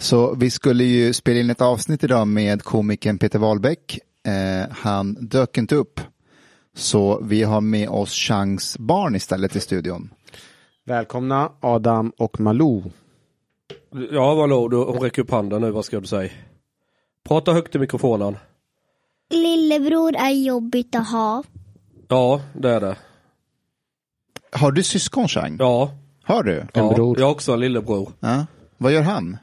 Så vi skulle ju spela in ett avsnitt idag med komikern Peter Wahlbeck. Eh, han dök inte upp. Så vi har med oss Changs barn istället i studion. Välkomna Adam och Malou. Ja, hallå, du, hon räcker upp handen nu, vad ska du säga? Prata högt i mikrofonen. Lillebror är jobbigt att ha. Ja, det är det. Har du syskon Chang? Ja, Har du? ja. bror. jag har också en lillebror. Ja. Vad gör han?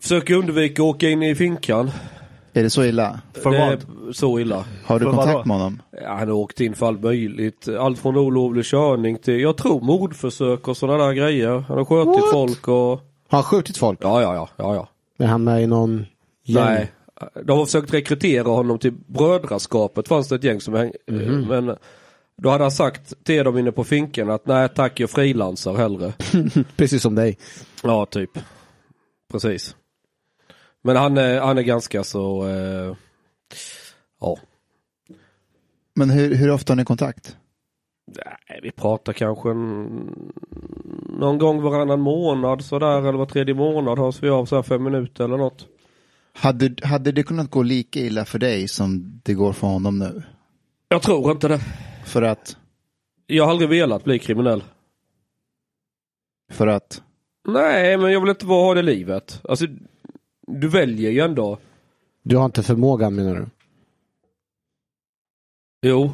Försöker undvika att åka in i finkan. Är det så illa? För det vad? är så illa. Har du För vadå? kontakt med honom? Ja, han har åkt in för allt möjligt. Allt från olovlig körning till, jag tror mordförsök och sådana där grejer. Han har skjutit folk och... Har han skjutit folk? Ja, ja, ja, ja, ja. Är han med i någon gäng? Nej. De har försökt rekrytera honom till Brödraskapet fanns det ett gäng som häng... Men då hade han sagt till dem inne på finken att nej tack jag frilansar hellre. Precis som dig. Ja, typ. Precis. Men han är, han är ganska så... Eh, ja, Men hur, hur ofta har ni kontakt? Nej, vi pratar kanske en, någon gång varannan månad sådär eller var tredje månad hörs vi av så här fem minuter eller något. Hade, hade det kunnat gå lika illa för dig som det går för honom nu? Jag tror inte det. För att? Jag har aldrig velat bli kriminell. För att? Nej, men jag vill inte vara ha det livet. Alltså, du väljer ju ändå. Du har inte förmågan menar du? Jo,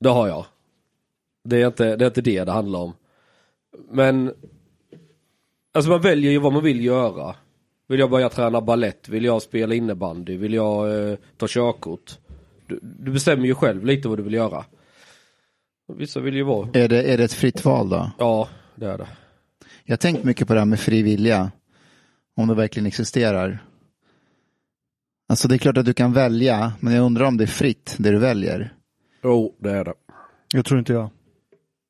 det har jag. Det är inte det är inte det, det handlar om. Men, alltså man väljer ju vad man vill göra. Vill jag börja träna ballett? Vill jag spela innebandy? Vill jag eh, ta körkort? Du, du bestämmer ju själv lite vad du vill göra. Vissa vill ju vara... Är det, är det ett fritt val då? Ja, det är det. Jag har tänkt mycket på det här med fri vilja. Om det verkligen existerar. Alltså det är klart att du kan välja, men jag undrar om det är fritt det du väljer. Jo, det är det. Jag tror inte jag.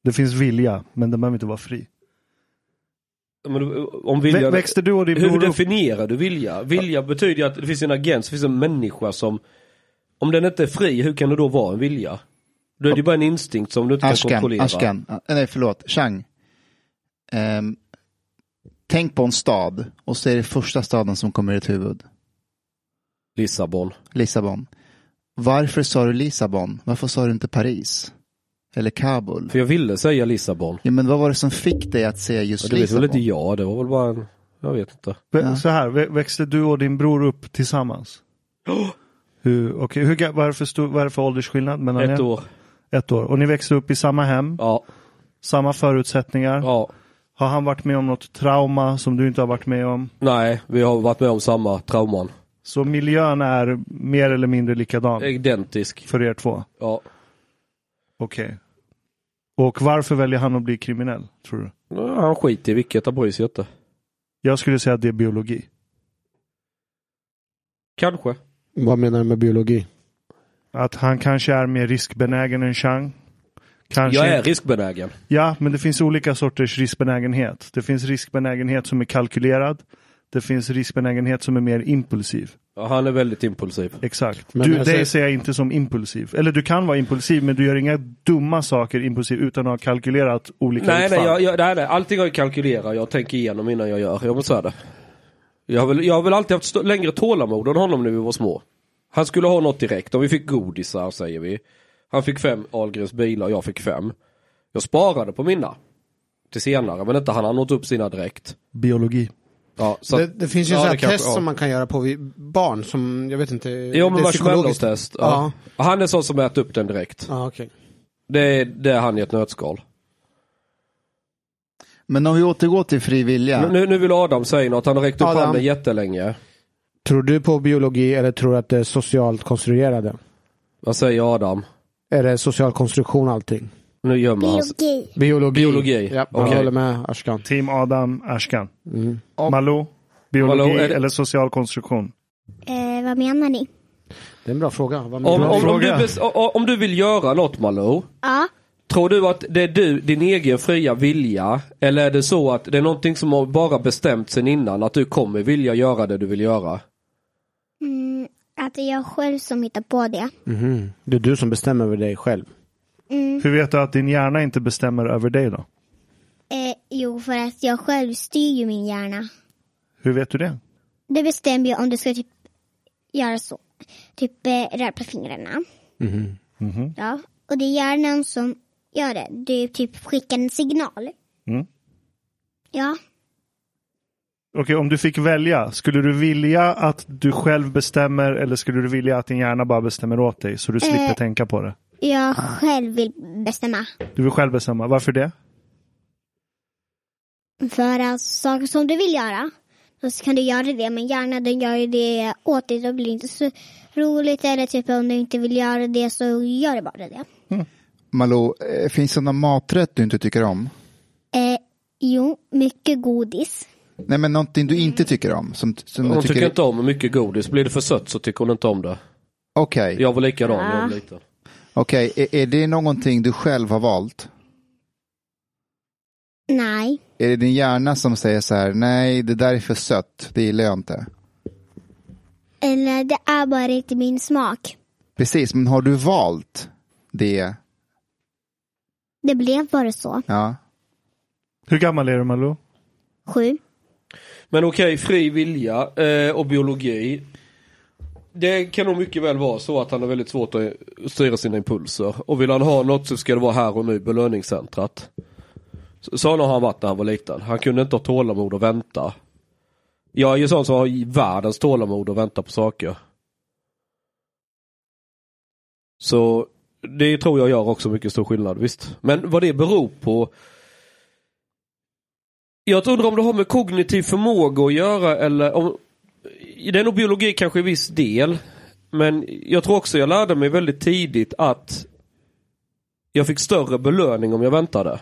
Det finns vilja, men den behöver inte vara fri. Men, du- om Vä vilja... växte du och din Hur bror upp? definierar du vilja? Vilja betyder ju att det finns en agens, det finns en människa som Om den inte är fri, hur kan det då vara en vilja? Då är det ju bara en instinkt som du inte kan Ashkan, kontrollera. Ashkan, ah, nej förlåt, Chang. Ehm, tänk på en stad och så är det första staden som kommer i ditt huvud. Lissabon. Lissabon. Varför sa du Lissabon? Varför sa du inte Paris? Eller Kabul? För jag ville säga Lissabon. Ja, men vad var det som fick dig att säga Men just det vet väl Lissabon? inte jag, det var väl bara en... Jag vet inte. Vä Ja. Så här, vä växte du och din bror upp tillsammans? Hur, okay, hur, ga- vad, är det för stor, vad är det för åldersskillnad mellan Ett er? år. Ett år. Och ni växte upp i samma hem, Ja. samma förutsättningar. ja. Har han varit med om något trauma som du inte har varit med om? Nej, vi har varit med om samma trauman. Så miljön är mer eller mindre likadan Identisk. för er två? Ja. Okej. Och varför väljer han att bli kriminell, tror du? Ja, Han skiter i vilket, han bryr sig inte. Jag skulle säga att det är biologi. Kanske. Vad menar du med biologi? Att han kanske är mer riskbenägen än Chang. Kanske Jag är riskbenägen. Ja, men det finns olika sorters riskbenägenhet. Det finns riskbenägenhet som är kalkylerad. Det finns riskbenägenhet som är mer impulsiv. Ja, Han är väldigt impulsiv. Exakt. Men du, alltså- Dig ser jag inte som impulsiv. Eller du kan vara impulsiv, men du gör inga dumma saker impulsiv utan att ha kalkylerat olika Nej, nej, utfall. jag, jag, nej, nej, allting har jag kalkylerat, jag tänker igenom innan jag gör. Jag måste säga det. Jag har väl, jag har väl alltid haft stö- längre tålamod än honom när vi var små. Han skulle ha något direkt, om vi fick godisar säger vi. Han fick fem Ahlgrens bilar, jag fick fem. Jag sparade på mina. Till senare, men inte han han åt upp sina direkt. Biologi. Ja, så det, att- det finns ju ja, så här det kanske- test ja. som man kan göra på vi- barn som, jag vet inte. Jo men det är psykologiskt. marshmallow-test. Ja. Han är sån som äter upp den direkt. Ja, okej. Det är, det är han i ett nötskal. Men om vi återgår till fri vilja. Nu, nu vill Adam säga något, han har räckt upp Adam. handen jättelänge. Tror du på biologi eller tror du att det är socialt konstruerade? Vad säger Adam? Är det social konstruktion allting? Nu gömmer han sig. Biologi. Biologi. Biologi, Ja, jag okej. håller med Ashkan. Team Adam Ashkan. Malou. Biologi Malou, är det- eller social konstruktion? Eh, vad menar ni? Det är en bra fråga. Vad menar Om, du? om, om, du, fråga. bes- o- o- om du vill göra något Malou, Ja. tror du att det är du, din egen fria vilja? Eller är det så att det är någonting som har bara bestämt sen innan att du kommer vilja göra det du vill göra? Mm, att det är jag själv som hittar på det. Mhm. Det är du som bestämmer över dig själv. Hur vet du att din hjärna inte bestämmer över dig då? Eh, jo, för att jag själv styr ju min hjärna. Hur vet du det? Det bestämmer ju om du ska typ göra så. Typ eh, röra på fingrarna. Mhm. Ja. Och det är hjärnan som gör det. Du typ skickar en signal. Mm. Ja. Okej, om du fick välja, skulle du vilja att du själv bestämmer eller skulle du vilja att din hjärna bara bestämmer åt dig så du slipper Eh. tänka på det? Jag själv vill bestämma. Du vill själv bestämma, varför det? För alltså, saker som du vill göra, då kan du göra det. Men hjärnan den gör ju det åt dig. Då blir det inte så roligt. Eller typ om du inte vill göra det så gör du bara det. Malou, eh, finns det någon maträtt du inte tycker om? Eh, jo, mycket godis. Nej, men någonting du inte tycker om? Som, som du Hon tycker tycker... inte om mycket godis. Blir det för sött så tycker hon inte om det. Okej, Jag var likadan när jag var Ah. liten. okej. Är, är det någonting du själv har valt? Nej, Är det din hjärna som säger så här, nej, det där är för sött, det gillar jag inte? eller det är bara inte min smak. Precis, men har du valt det? Det blev bara så. Ja. Hur gammal är du Malou? Sju. Men okej, fri vilja eh, och biologi. Det kan nog mycket väl vara så att han har väldigt svårt att styra sina impulser. Och vill han ha något så ska det vara här och nu, belöningscentrat. Så- Sån har han varit när han var liten. Han kunde inte ha tålamod och vänta. Jag är ju sån som har världens tålamod och vänta på saker. Så det tror jag gör också mycket stor skillnad, visst. Men vad det beror på jag undrar om det har med kognitiv förmåga att göra eller om... Det är nog biologi kanske i viss del. Men jag tror också jag lärde mig väldigt tidigt att jag fick större belöning om jag väntade.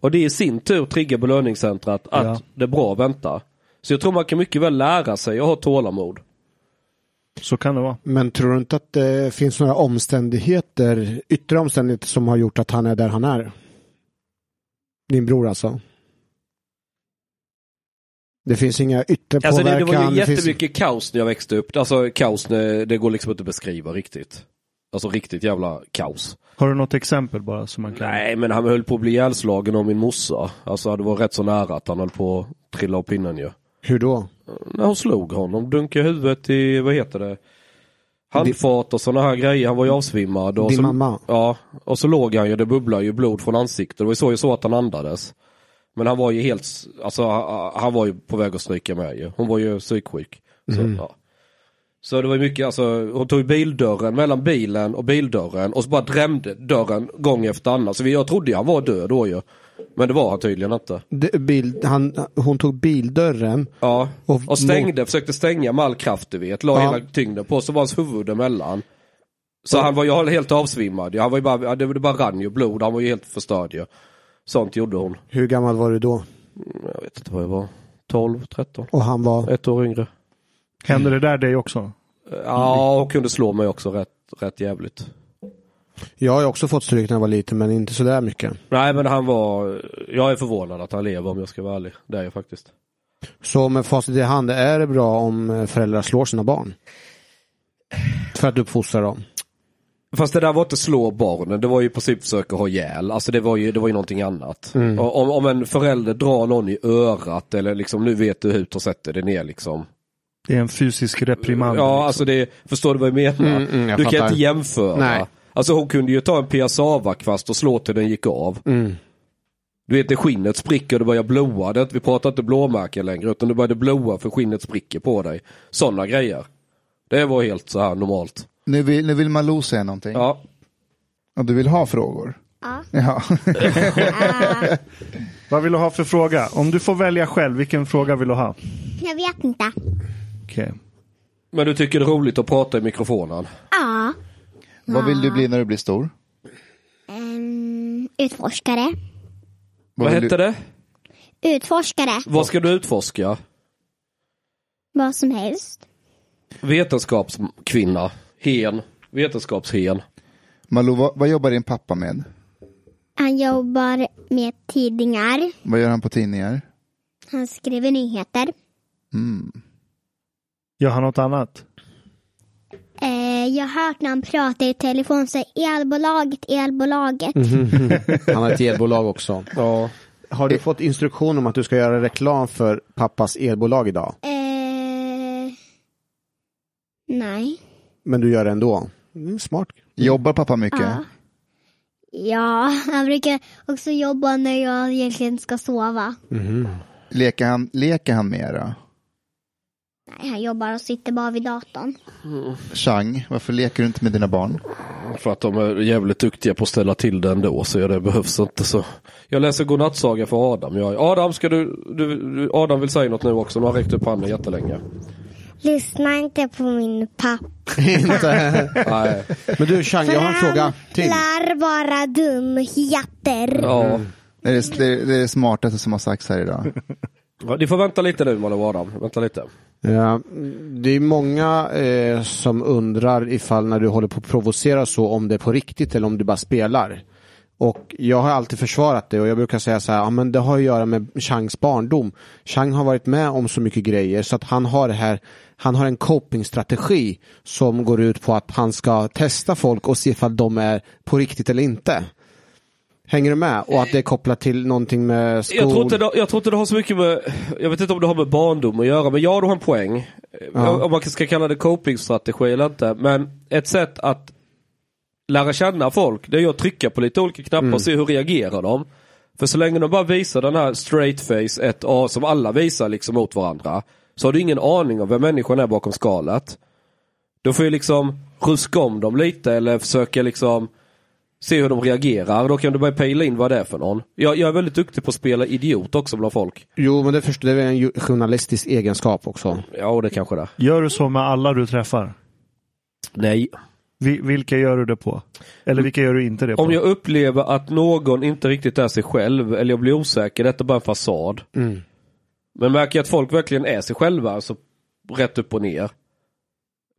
Och det i sin tur triggar belöningscentrat att Ja. det är bra att vänta. Så jag tror man kan mycket väl lära sig att ha tålamod. Så kan det vara. Men tror du inte att det finns några omständigheter, yttre omständigheter som har gjort att han är där han är? Din bror alltså? Det finns inga yttre Alltså det, det påverkan. var ju finns- jättemycket kaos när jag växte upp. Alltså kaos, när- det går liksom inte att beskriva riktigt. Alltså riktigt jävla kaos. Har du något exempel bara som man kan? Nej, men han höll på att bli ihjälslagen av min morsa. Alltså det var rätt så nära att han höll på att trilla av pinnen ju. Hur då? När hon slog honom, dunkade huvudet i, vad heter det? Handfat och sådana här grejer. Han var ju avsvimmad. Och Din så, mamma? Ja, och så låg han ju, det bubblar ju blod från ansiktet. Det var ju så, ju så att han andades. Men han var ju helt, alltså han- han var ju på väg att stryka med ju. Hon var ju psyksjuk. Så, Mm. ja. så det var ju mycket, alltså hon tog ju bildörren mellan bilen och bildörren och så bara drämde dörren gång efter annan. Så vi- jag trodde ju han var död då ju. Men det var han tydligen inte. Det- Bil, han, hon tog bildörren. Ja, Och och, stängde, försökte stänga med all kraft du vet. La Ja. hela tyngden på, så var hans huvud emellan. Så han var ju helt avsvimmad. ju. Han var ju bara, det det bara rann ju blod, han var ju helt förstörd ju. Sånt gjorde hon. Hur gammal var du då? Jag vet inte vad jag var. 12, 13, Och han var? ett år yngre. Händer det där dig också? Ja, hon kunde slå mig också rätt, rätt jävligt. Jag har ju också fått stryk när jag var liten men inte sådär mycket. Nej men han var, jag är förvånad att han lever om jag ska vara ärlig. Det är jag faktiskt. Så med facit i hand, är det bra om föräldrar slår sina barn? För att uppfostra dem? Fast det där var inte slå barnen, det var ju i princip försöka ha ihjäl. Alltså det var ju, det var ju någonting annat. Mm. Och Om, om en förälder drar någon i örat eller liksom nu vet du hut och sätter det ner liksom. Det är en fysisk reprimand. Ja alltså det, förstår du vad jag menar? liksom. Mm, mm, jag du kan fattar. inte jämföra. Nej. Alltså hon kunde ju ta en piassavakvast och slå till den gick av. Mm. Du vet det skinnet spricker och det börjar blåa. Det, är inte- vi pratar inte blåmärken längre utan det började blåa för skinnet spricker på dig. Sådana grejer. Det var helt så här normalt. Nu vill, nu vill Malou säga någonting. Ja. Och du vill ha frågor? Ja. Ja. Vad vill du ha för fråga? Om du får välja själv, vilken fråga vill du ha? Jag vet inte. Okej. Men du tycker det är roligt att prata i mikrofonen? Ja. Vad vill du bli när du blir stor? Ehm, utforskare. Vad vill hette du... det? Utforskare. Vad ska du utforska? Vad som helst. Vetenskapskvinna. Hen. Vetenskapshen. Malou, vad, vad jobbar din pappa med? Han jobbar med tidningar. Vad gör han på tidningar? Han skriver nyheter. Mm. Gör han något annat? Eh, jag har hört när han pratar i telefon så elbolaget, elbolaget. Mm-hmm. Han har ett elbolag också. Ja. Har du fått instruktion om att du ska göra reklam för pappas elbolag idag? Mm. Eh, nej. Men du gör det ändå? Mm, smart. Jobbar pappa mycket? Ja. ja, han brukar också jobba när jag egentligen ska sova. Leker, han, leker han mera? Nej, han jobbar och sitter bara vid datorn. Chang, varför leker du inte med dina barn? För att de är jävligt duktiga på att ställa till det ändå så ja, det behövs inte så. Jag läser godnattsaga för Adam. Jag, Adam, ska du, du, du, Adam vill säga något nu också. Han har räckt upp handen jättelänge. Lyssna inte på min pappa. Nej, Men du Chang, jag har en fråga till. lär bara dumheter. ja. Det är det, det, är det smartaste som har sagts här idag. Ja, Ni får vänta lite nu Malou och Adam. Vänta lite. Ja, Eh, det är många eh, som undrar ifall när du håller på att provocera så om det är på riktigt eller om du bara spelar. Och jag har alltid försvarat det och jag brukar säga så här, ja men det har att göra med Changs barndom. Chang har varit med om så mycket grejer så att han har det här, han har en copingstrategi som går ut på att han ska testa folk och se ifall de är på riktigt eller inte. Hänger du med? Och att det är kopplat till någonting med skol. Jag tror, inte det, jag tror inte det har så mycket med, jag vet inte om det har med barndom att göra, men ja du har en poäng. Ja. Om man ska kalla det copingstrategi eller inte, men ett sätt att lära känna folk, det är ju att trycka på lite olika knappar och se hur reagerar de. För så länge de bara visar den här straight face 1A som alla visar liksom mot varandra, så har du ingen aning om vem människan är bakom skalet. Då får ju liksom ruska om dem lite eller försöka liksom se hur de reagerar. Då kan du börja pejla in vad det är för någon. Jag, jag är väldigt duktig på att spela idiot också bland folk. Jo men det förstår det är en ju- journalistisk egenskap också. Ja, och det kanske det är. Gör du så med alla du träffar? Nej. Vi, vilka gör du det på? Eller vilka gör du inte det på? Mm. Om jag upplever att någon inte riktigt är sig själv eller jag blir osäker, detta är bara en fasad. Mm. Men märker jag att folk verkligen är sig själva, alltså rätt upp och ner.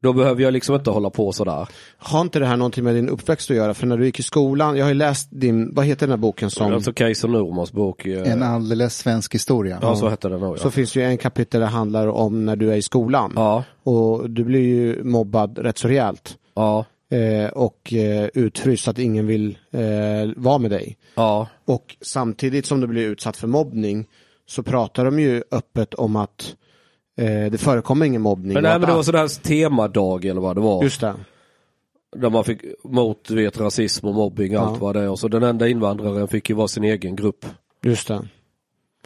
Då behöver jag liksom inte hålla på sådär. Har inte det här någonting med din uppväxt att göra? För när du gick i skolan, jag har ju läst din, vad heter den här boken som, Alltså Kajsa Normans bok. eh, En alldeles svensk historia. ja, så hette den nog så ja. finns ju en kapitel där det handlar om när du är i skolan. ja. Och du blir ju mobbad rätt så rejält. Ja, Eh, och eh, utfryst att ingen vill eh, vara med dig. ja. Och samtidigt som du blir utsatt för mobbning så pratar de ju öppet om att eh, det förekommer ingen mobbning. Men, och nej, att men det var allt- sådär temadag eller vad det var. Just det. Där man fick mot, du vet, rasism och mobbing och allt vad det är. Och så den enda invandraren fick ju vara sin egen grupp. Just det.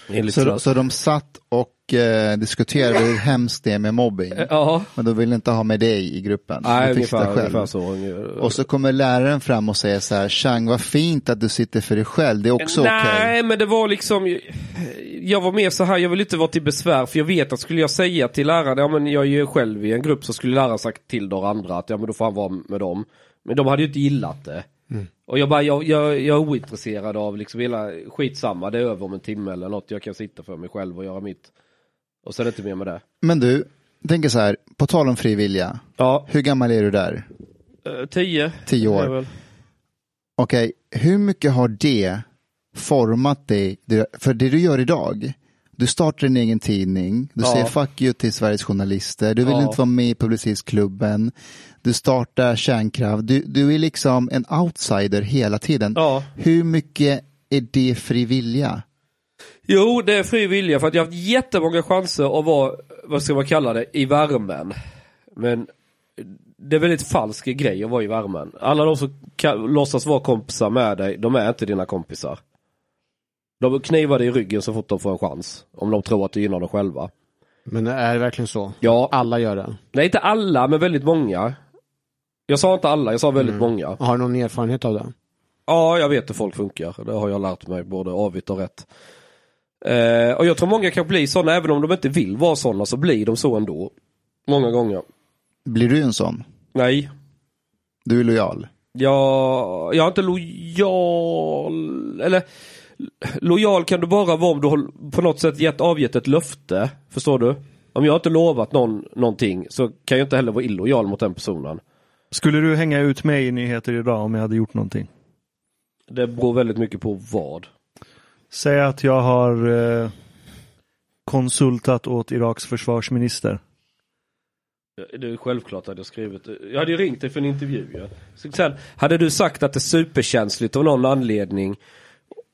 Enligt Så, så, så de satt och eh, diskuterade hur hemskt det är med mobbing. Ja, Men de ville inte ha med dig i gruppen. nej, du fixar ungefär, själv. ungefär så. Unge- Och så kommer läraren fram och säger så här, Chang vad fint att du sitter för dig själv, det är också okej. Nej, men det var liksom, jag var mer så här, jag vill inte vara till besvär, för jag vet att skulle jag säga till läraren, ja men jag är ju själv i en grupp, så skulle läraren sagt till några andra att ja men då får han vara med dem. Men de hade ju inte gillat det. Mm. Och jag bara, jag, jag, jag är ointresserad av liksom hela, skitsamma, det är över om en timme eller något, jag kan sitta för mig själv och göra mitt. Och så är det inte mer med det. Men du, tänker så här, på tal om fri vilja, Ja, hur gammal är du där? eh, tio. Tio år. är väl- Okej, hur mycket har det format dig? Det- För det du gör idag, du startar din egen tidning, du Ja. säger fuck you till Sveriges journalister, du vill Ja. inte vara med i Publicistklubben, du startar kärnkraft, du, du är liksom en outsider hela tiden. Ja. Hur mycket är det fri vilja? Jo, det är fri vilja för att jag har haft jättemånga chanser att vara, vad ska man kalla det, i värmen. Men det är väldigt falsk grej att vara i värmen. Alla de som kan, låtsas vara kompisar med dig, de är inte dina kompisar. De knivar dig i ryggen så fort de får en chans. Om de tror att det gynnar dem själva. Men är det verkligen så? Ja, Alla gör det. nej inte alla, men väldigt många. Jag sa inte alla, jag sa väldigt Mm. många. Har du någon erfarenhet av det? Ja, jag vet hur folk funkar. Det har jag lärt mig både avigt och rätt. Eh, och jag tror många kan bli sådana, även om de inte vill vara sådana så blir de så ändå. Många gånger. Blir du en sån? Nej, Du är lojal. jag, jag är inte lojal. Eller lojal kan du bara vara om du har på något sätt gett, avgett ett löfte. Förstår du? Om jag inte lovat någon någonting så kan jag inte heller vara illojal mot den personen. Skulle du hänga ut mig i nyheter idag om jag hade gjort någonting? Det beror väldigt mycket på vad. Säg att jag har eh, konsultat åt Iraks försvarsminister. Det är självklart att jag skrivit. Jag hade ju ringt dig för en intervju. Ja. Så Sen hade du sagt att det är superkänsligt av någon anledning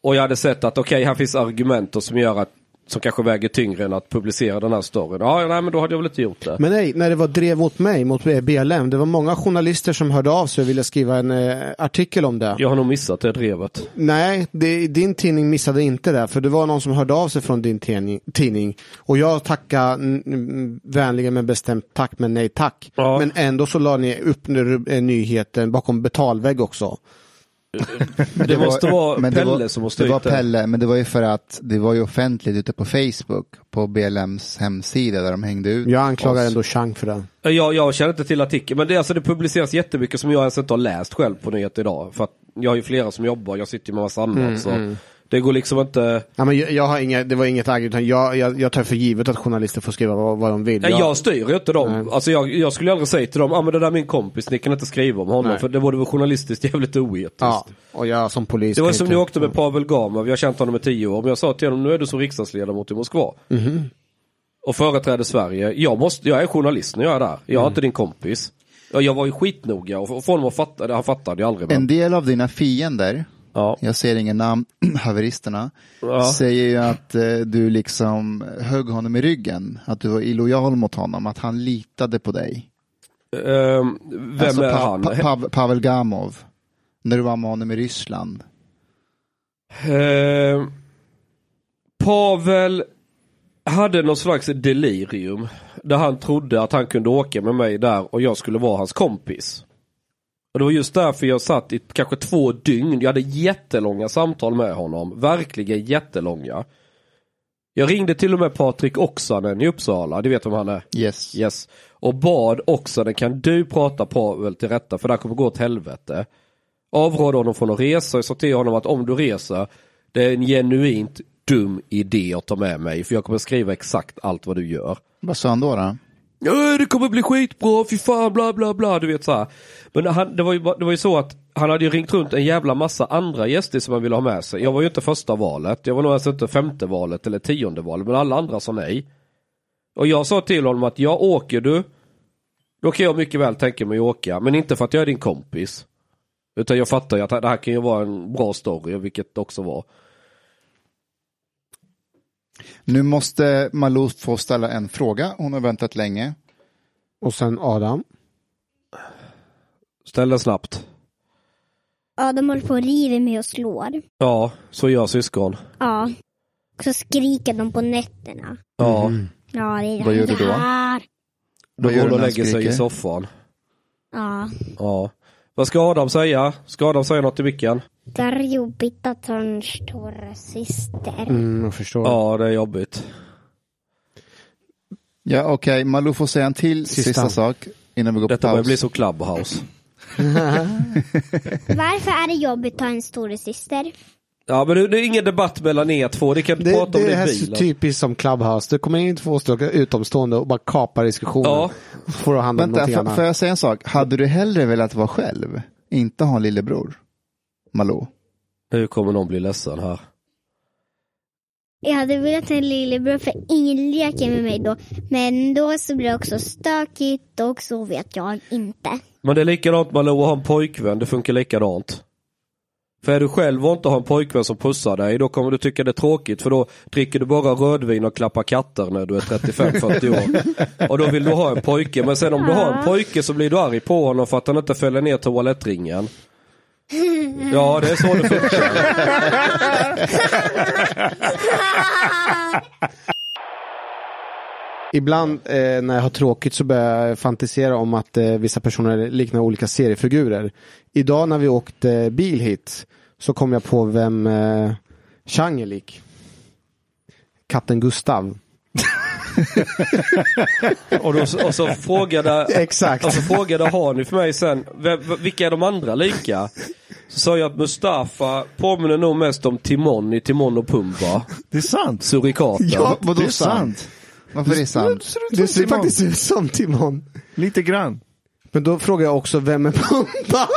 Och jag hade sett att okej, här finns argument och som gör att som kanske väger tyngre än att publicera den här storyn. Ja, nej, men då hade jag väl inte gjort det. Men nej, när det var drev mot mig, mot BLM, det var många journalister som hörde av sig och ville skriva en eh, artikel om det. Jag har nog missat det drevet. Nej, det, din tidning missade inte det, för det var någon som hörde av sig från din tidning- tidning. Och jag tackade mm, mm, vänligen men bestämt tack, men nej tack. Ja. Men ändå så la ni upp nu- eh, nyheten bakom betalvägg också. Det, måste vara men Pelle det var, som måste Det var ut där. Pelle, men det var ju för att det var ju offentligt ute på Facebook, på BLMs hemsida där de hängde ut. Jag anklagar oss. ändå Chang för det. Jag, jag känner inte till artikeln, men det, är alltså, det publiceras jättemycket som jag ens inte har läst själv på nyhet idag. För att jag har ju flera som jobbar, jag sitter ju med massa Mm, annat. så Det går liksom inte... Ja, men jag, jag har inga, det var inget agg, utan jag, jag, jag tar för givet att journalister får skriva vad, vad de vill. Nej, Jag- jag styr ju inte dem. Alltså, jag, jag skulle aldrig säga till dem, ah, men det där är min kompis, ni kan inte skriva om honom. Nej. För det vore väl journalistiskt jävligt oetiskt. ja, och jag som polis. Det var kan som inte- när jag åkte med Pavel Gamov, jag har känt honom i tio år, men jag sa till honom, nu är du som riksdagsledamot i Moskva. Mhm. Och företräder Sverige. Jag, måste, jag är journalist när jag är där, jag Mm. är inte din kompis. Ja, Jag var ju skitnoga och och få honom att fatta, det- han fattade ju aldrig. Men, En del av dina fiender, ja. jag ser ingen namn, haveristerna, Ja. säger ju att eh, du liksom högg honom i ryggen, att du var illojal mot honom, att han litade på dig. Ehm, vem Alltså, är Pa- han? Pa- Pav- Pavel Gamov, när du var med honom i Ryssland. Ehm, Pavel hade någon slags delirium. Där han trodde att han kunde åka med mig där och jag skulle vara hans kompis. Och det var just därför jag satt i kanske två dygn. Jag hade jättelånga samtal med honom. Verkligen jättelånga. Jag ringde till och med Patrik Oksanen i Uppsala. Du vet vem han är? Yes. Yes. Och bad också, den kan du prata Pavel till rätta för det här kommer gå åt helvete. Avrådde honom från att resa och sa till honom att om du reser, det är en genuint dum idé att ta med mig för jag kommer skriva exakt allt vad du gör. Vad sa han då? då? Ja, det kommer bli skitbra, fy fan, bla bla bla, du vet så här. Men han, det, var ju, bara- det var ju så att han hade ju ringt runt en jävla massa andra gäster som han ville ha med sig. Jag var ju inte första valet, jag var nog ens inte femte valet eller tionde valet, men alla andra sa nej. Och jag sa till honom att jag åker du, då kan jag mycket väl tänka mig att åka, men inte för att jag är din kompis. Utan jag fattar ju att det här kan ju vara en bra story, vilket det också var. Nu måste Malou få ställa en fråga, hon har väntat länge. Och sen Adam. Ställ den snabbt. Ja, de håller på och river mig och slår. Ja, så gör syskon. Ja. Och så skriker de på nätterna. Ja, Ja, det är Vad gör du då? det här. Mhm. då Vad gör du går hon och när han lägger sig i skriker? soffan. Ja. Ja. Vad ska Adam säga? Ska Adam säga något i micken? Det är jobbigt att ha en stor syster. Mm, jag förstår. Ja, det är jobbigt. Ja, okej, Malou får säga en till sista, Sista. sak innan vi går Detta på börjar paus. bli så clubhouse. Varför är det jobbigt att ha en stor syster? Ja, men det det är ingen debatt mellan er två. Ni kan inte Det, prata om det det här i är typ- bilen. typiskt som Clubhouse. Det kommer in två stycken utomstående och bara kapar diskussionen. Ja. Får du hand om Vänta, någonting får, annat. får jag säga en sak? Hade du hellre velat vara själv? Inte ha en lillebror? Malou? Nu kommer någon bli ledsen här. Jag hade velat ha en lillebror för ingen leker med mig då. Men då så blir det också stökigt och så vet jag inte. Men det är likadant Malou att ha en pojkvän. Det funkar likadant. För är du själv och inte har en pojkvän som pussar dig, då kommer du tycka det är tråkigt för då dricker du bara rödvin och klappar katter när du är 35-40 år. Och då vill du ha en pojke, men sen om du har en pojke så blir du arg på honom för att han inte fäller ner toalettringen. Ja, det är så det funkar. Ibland eh, när jag har tråkigt så börjar jag fantisera om att eh, vissa personer liknar olika seriefigurer. Idag när vi åkte bil hit så kom jag på vem eh, Chang är lik. Katten Gustav. Och, då, och så frågade Exakt. och så frågade Hani för mig sen, "Vem- v- vilka är de andra lika? Så sa jag att Mustafa påminner nog mest om Timon i Timon och Pumba, Det är sant. surikaten. Ja, vadå det är sant? Varför är det sant? Det ser faktiskt ut som Timon. Lite grann. Men då frågar jag också vem är Pumba?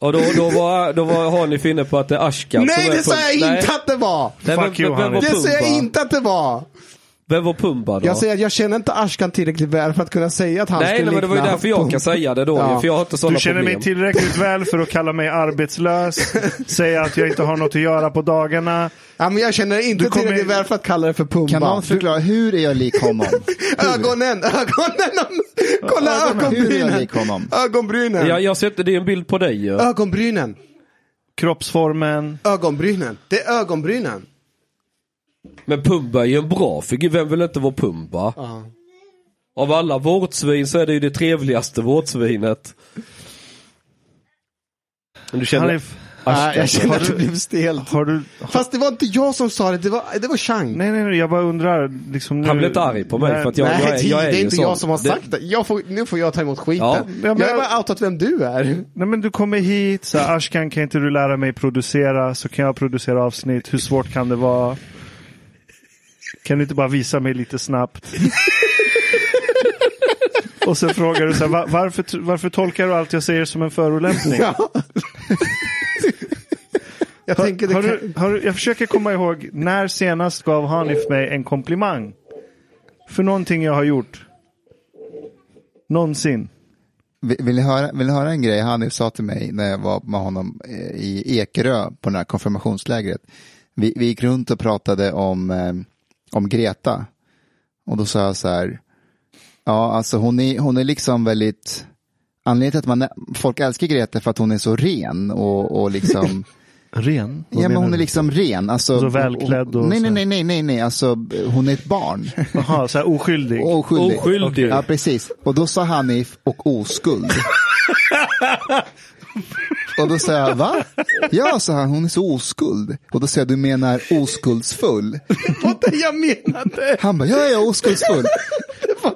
Och då, då var, då var Hanif inne på att det är Ashkan Nej som är det sa Pumba. jag Nej. inte att det var! Nej, Fuck you, vem, vem, vem Hanif. var Det sa jag Pumba? inte att det var! Vem var Pumba då? Jag säger att jag känner inte Ashkan tillräckligt väl för att kunna säga att han nej, skulle nej, men det var ju likna därför jag kan säga det då Ja. för jag har inte sådana Du känner problem. mig tillräckligt väl för att kalla mig arbetslös, säga att jag inte har något att göra på dagarna. Ja, men jag känner inte Du kommer- tillräckligt väl för att kalla det för Pumba. Kan någon förklara, hur är jag lik honom? Ögonen, ögonen! Kolla Hur är jag ögonbrynen! lik honom? Ögonbrynen! jag, jag sätter, det är en bild på dig ju. Ögonbrynen! Kroppsformen. Ögonbrynen! Det är ögonbrynen! Men Pumba är ju en bra figur, vem vill inte vara Pumba? Av alla vårtsvin så är det ju det trevligaste vårtsvinet. Men du Han är, känner... f- Nej, jag känner har att du- det blev stelt. har du... Fast det var inte jag som sa det, det var, det var Chang. Nej, nej, nej, jag bara undrar. Liksom nu... Han blev inte arg på mig Nej, för att jag, Nej, jag, är, jag är det är ju inte sån. jag som har Det- sagt det. Jag får, nu får jag ta emot skiten. Ja, ja, men jag har jag- bara outat vem du är. Nej, men du kommer hit, så Mm. här, Ashkan kan inte du lära mig producera så kan jag producera avsnitt. Hur svårt kan det vara? Kan du inte bara visa mig lite snabbt? Och sen frågar du så här, "Va- varför, varför tolkar du allt jag säger som en förolämpning? Ja. jag tänker det Har kan... du, har du, jag försöker komma ihåg, när senast gav Hanif mig en komplimang? För någonting jag har gjort. Någonsin. Vill vill ni höra, vill ni höra en grej Hanif sa till mig när jag var med honom eh, i Ekerö på det här konfirmationslägret? Vi, vi gick runt och pratade om, eh, om Greta. Och då sa jag så här, ja alltså hon är, hon är liksom väldigt, anledningen till att man, folk älskar Greta är för att hon är så ren och, och liksom Ren? Ja, men hon är liksom ren. Alltså, Så välklädd och nej, så. nej, nej, nej, nej, nej, alltså hon är ett barn. Jaha, så här oskyldig. Och Oskyldig. Oskyldig. Ja, precis. Och då sa Hanif och oskuld. och då sa jag, va? Ja, sa han, hon är så oskuld. Och då sa jag, du menar oskuldsfull? Vad det jag menade! Han bara, ja, jag är oskuldsfull. Vad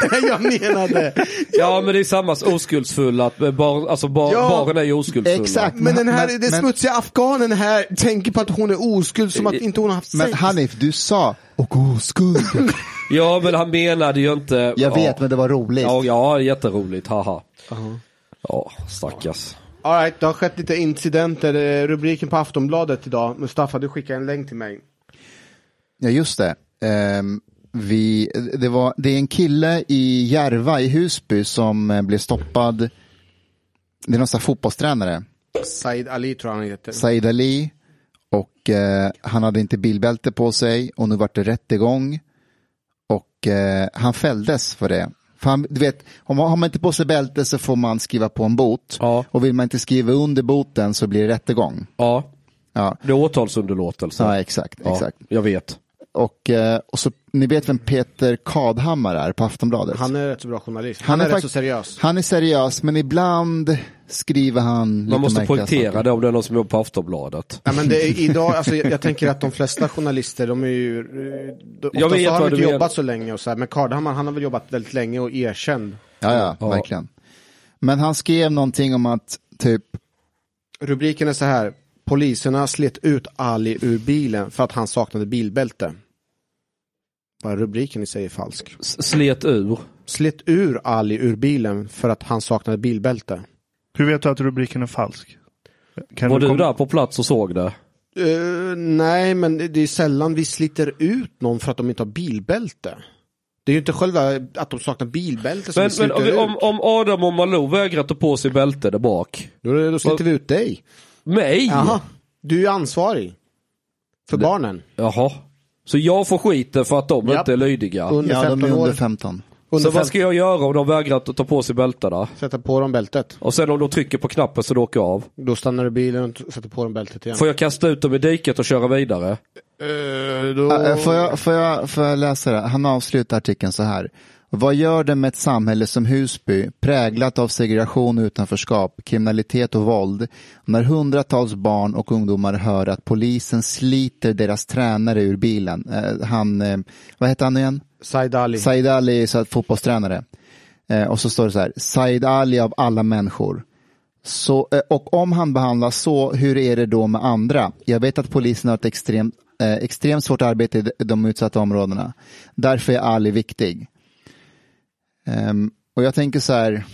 det jag menade! Ja men det är samma s- oskuldsfull att eh, bar, alltså bar, Ja, barnen är ju oskuldsfulla. Exakt. Men den här men, den men, smutsiga afghanen här tänker på att hon är oskuld som att inte hon har haft men sex. Hanif, du sa, och oskuld. Ja men han menade ju inte... Jag ja. vet, men det var roligt. Ja, ja jätteroligt, haha. Ja, stackars. All right, det har skett lite incidenter. Eh, Rubriken på Aftonbladet idag. Mustafa, du skickade en länk till mig. Ja, just det. Ehm, vi, det, var, det är en kille i Järva i Husby som eh, blev stoppad. Det är någon sån här fotbollstränare. Said Ali tror jag han heter. Said Ali. Och eh, han hade inte bilbälte på sig och nu vart det rättegång. Och eh, han fälldes för det. För han, du vet, om man, har man inte på sig bälte så får man skriva på en bot. Ja. Och vill man inte skriva under boten så blir det rättegång. Ja, Ja, det är åtalsunderlåtelse. ja exakt. Ja, exakt. Jag vet. Och, eh, och så, ni vet vem Peter Kadhammar är på Aftonbladet? Han är rätt så bra journalist. Han, är, rätt fakt- så seriös. Han är seriös, men ibland skriver han lite Man måste märkliga poängtera saker. det om det är någon som jobbar på Aftonbladet. Ja, men det är, idag, alltså, jag, jag tänker att de flesta journalister, de är ju... eh, De, Jag jag vet vet har de vad du inte menar. jobbat så länge och så här. Men Kardhammar, han har väl jobbat väldigt länge och erkänd. Ja, ja, Ja. verkligen. Men han skrev någonting om att typ, Rubriken är så här. Poliserna slet ut Ali ur bilen för att han saknade bilbälte. Bara rubriken i sig är falsk. S- Slet ur. Slet ur Ali ur bilen för att han saknade bilbälte. Hur vet du att rubriken är falsk? Kan Var du kom- där på plats och såg det? Eh, nej, men det det är sällan vi sliter ut någon för att de inte har bilbälte. Det är ju inte själva att de saknar bilbälte som Men, vi men sliter om, vi- ut. om, om Adam och Malou vägrar ta på sig bälte där bak. Då, då sliter vi ut dig. Nej! Jaha, du är ju ansvarig. För barnen. Jaha. Så jag får skiten för att de Japp. inte är lydiga. Under ja de 15 är år. under 15. Under Så vad ska jag göra om de vägrar att ta på sig bältena? Sätta på dem bältet. Och sen om de trycker på knappen så de åker av. Då stannar du bilen och t- sätter på dem bältet igen. Får jag kasta ut dem i diket och köra vidare? Eh, då... Äh, Får jag, får, jag, får jag läsa det? Han avslutar artikeln så här. Vad gör det med ett samhälle som Husby, präglat av segregation och utanförskap, kriminalitet och våld, när hundratals barn och ungdomar hör att polisen sliter deras tränare ur bilen? Eh, Han, eh, vad heter han nu igen? Said Ali. Said Ali är så här, fotbollstränare. Eh, och så står det så här, Said Ali av alla människor. Så, eh, och om han behandlas så, hur är det då med andra? Jag vet att polisen har ett extremt, eh, extremt svårt arbete i de- de utsatta områdena. Därför är Ali viktig. Ehm, och jag tänker så här,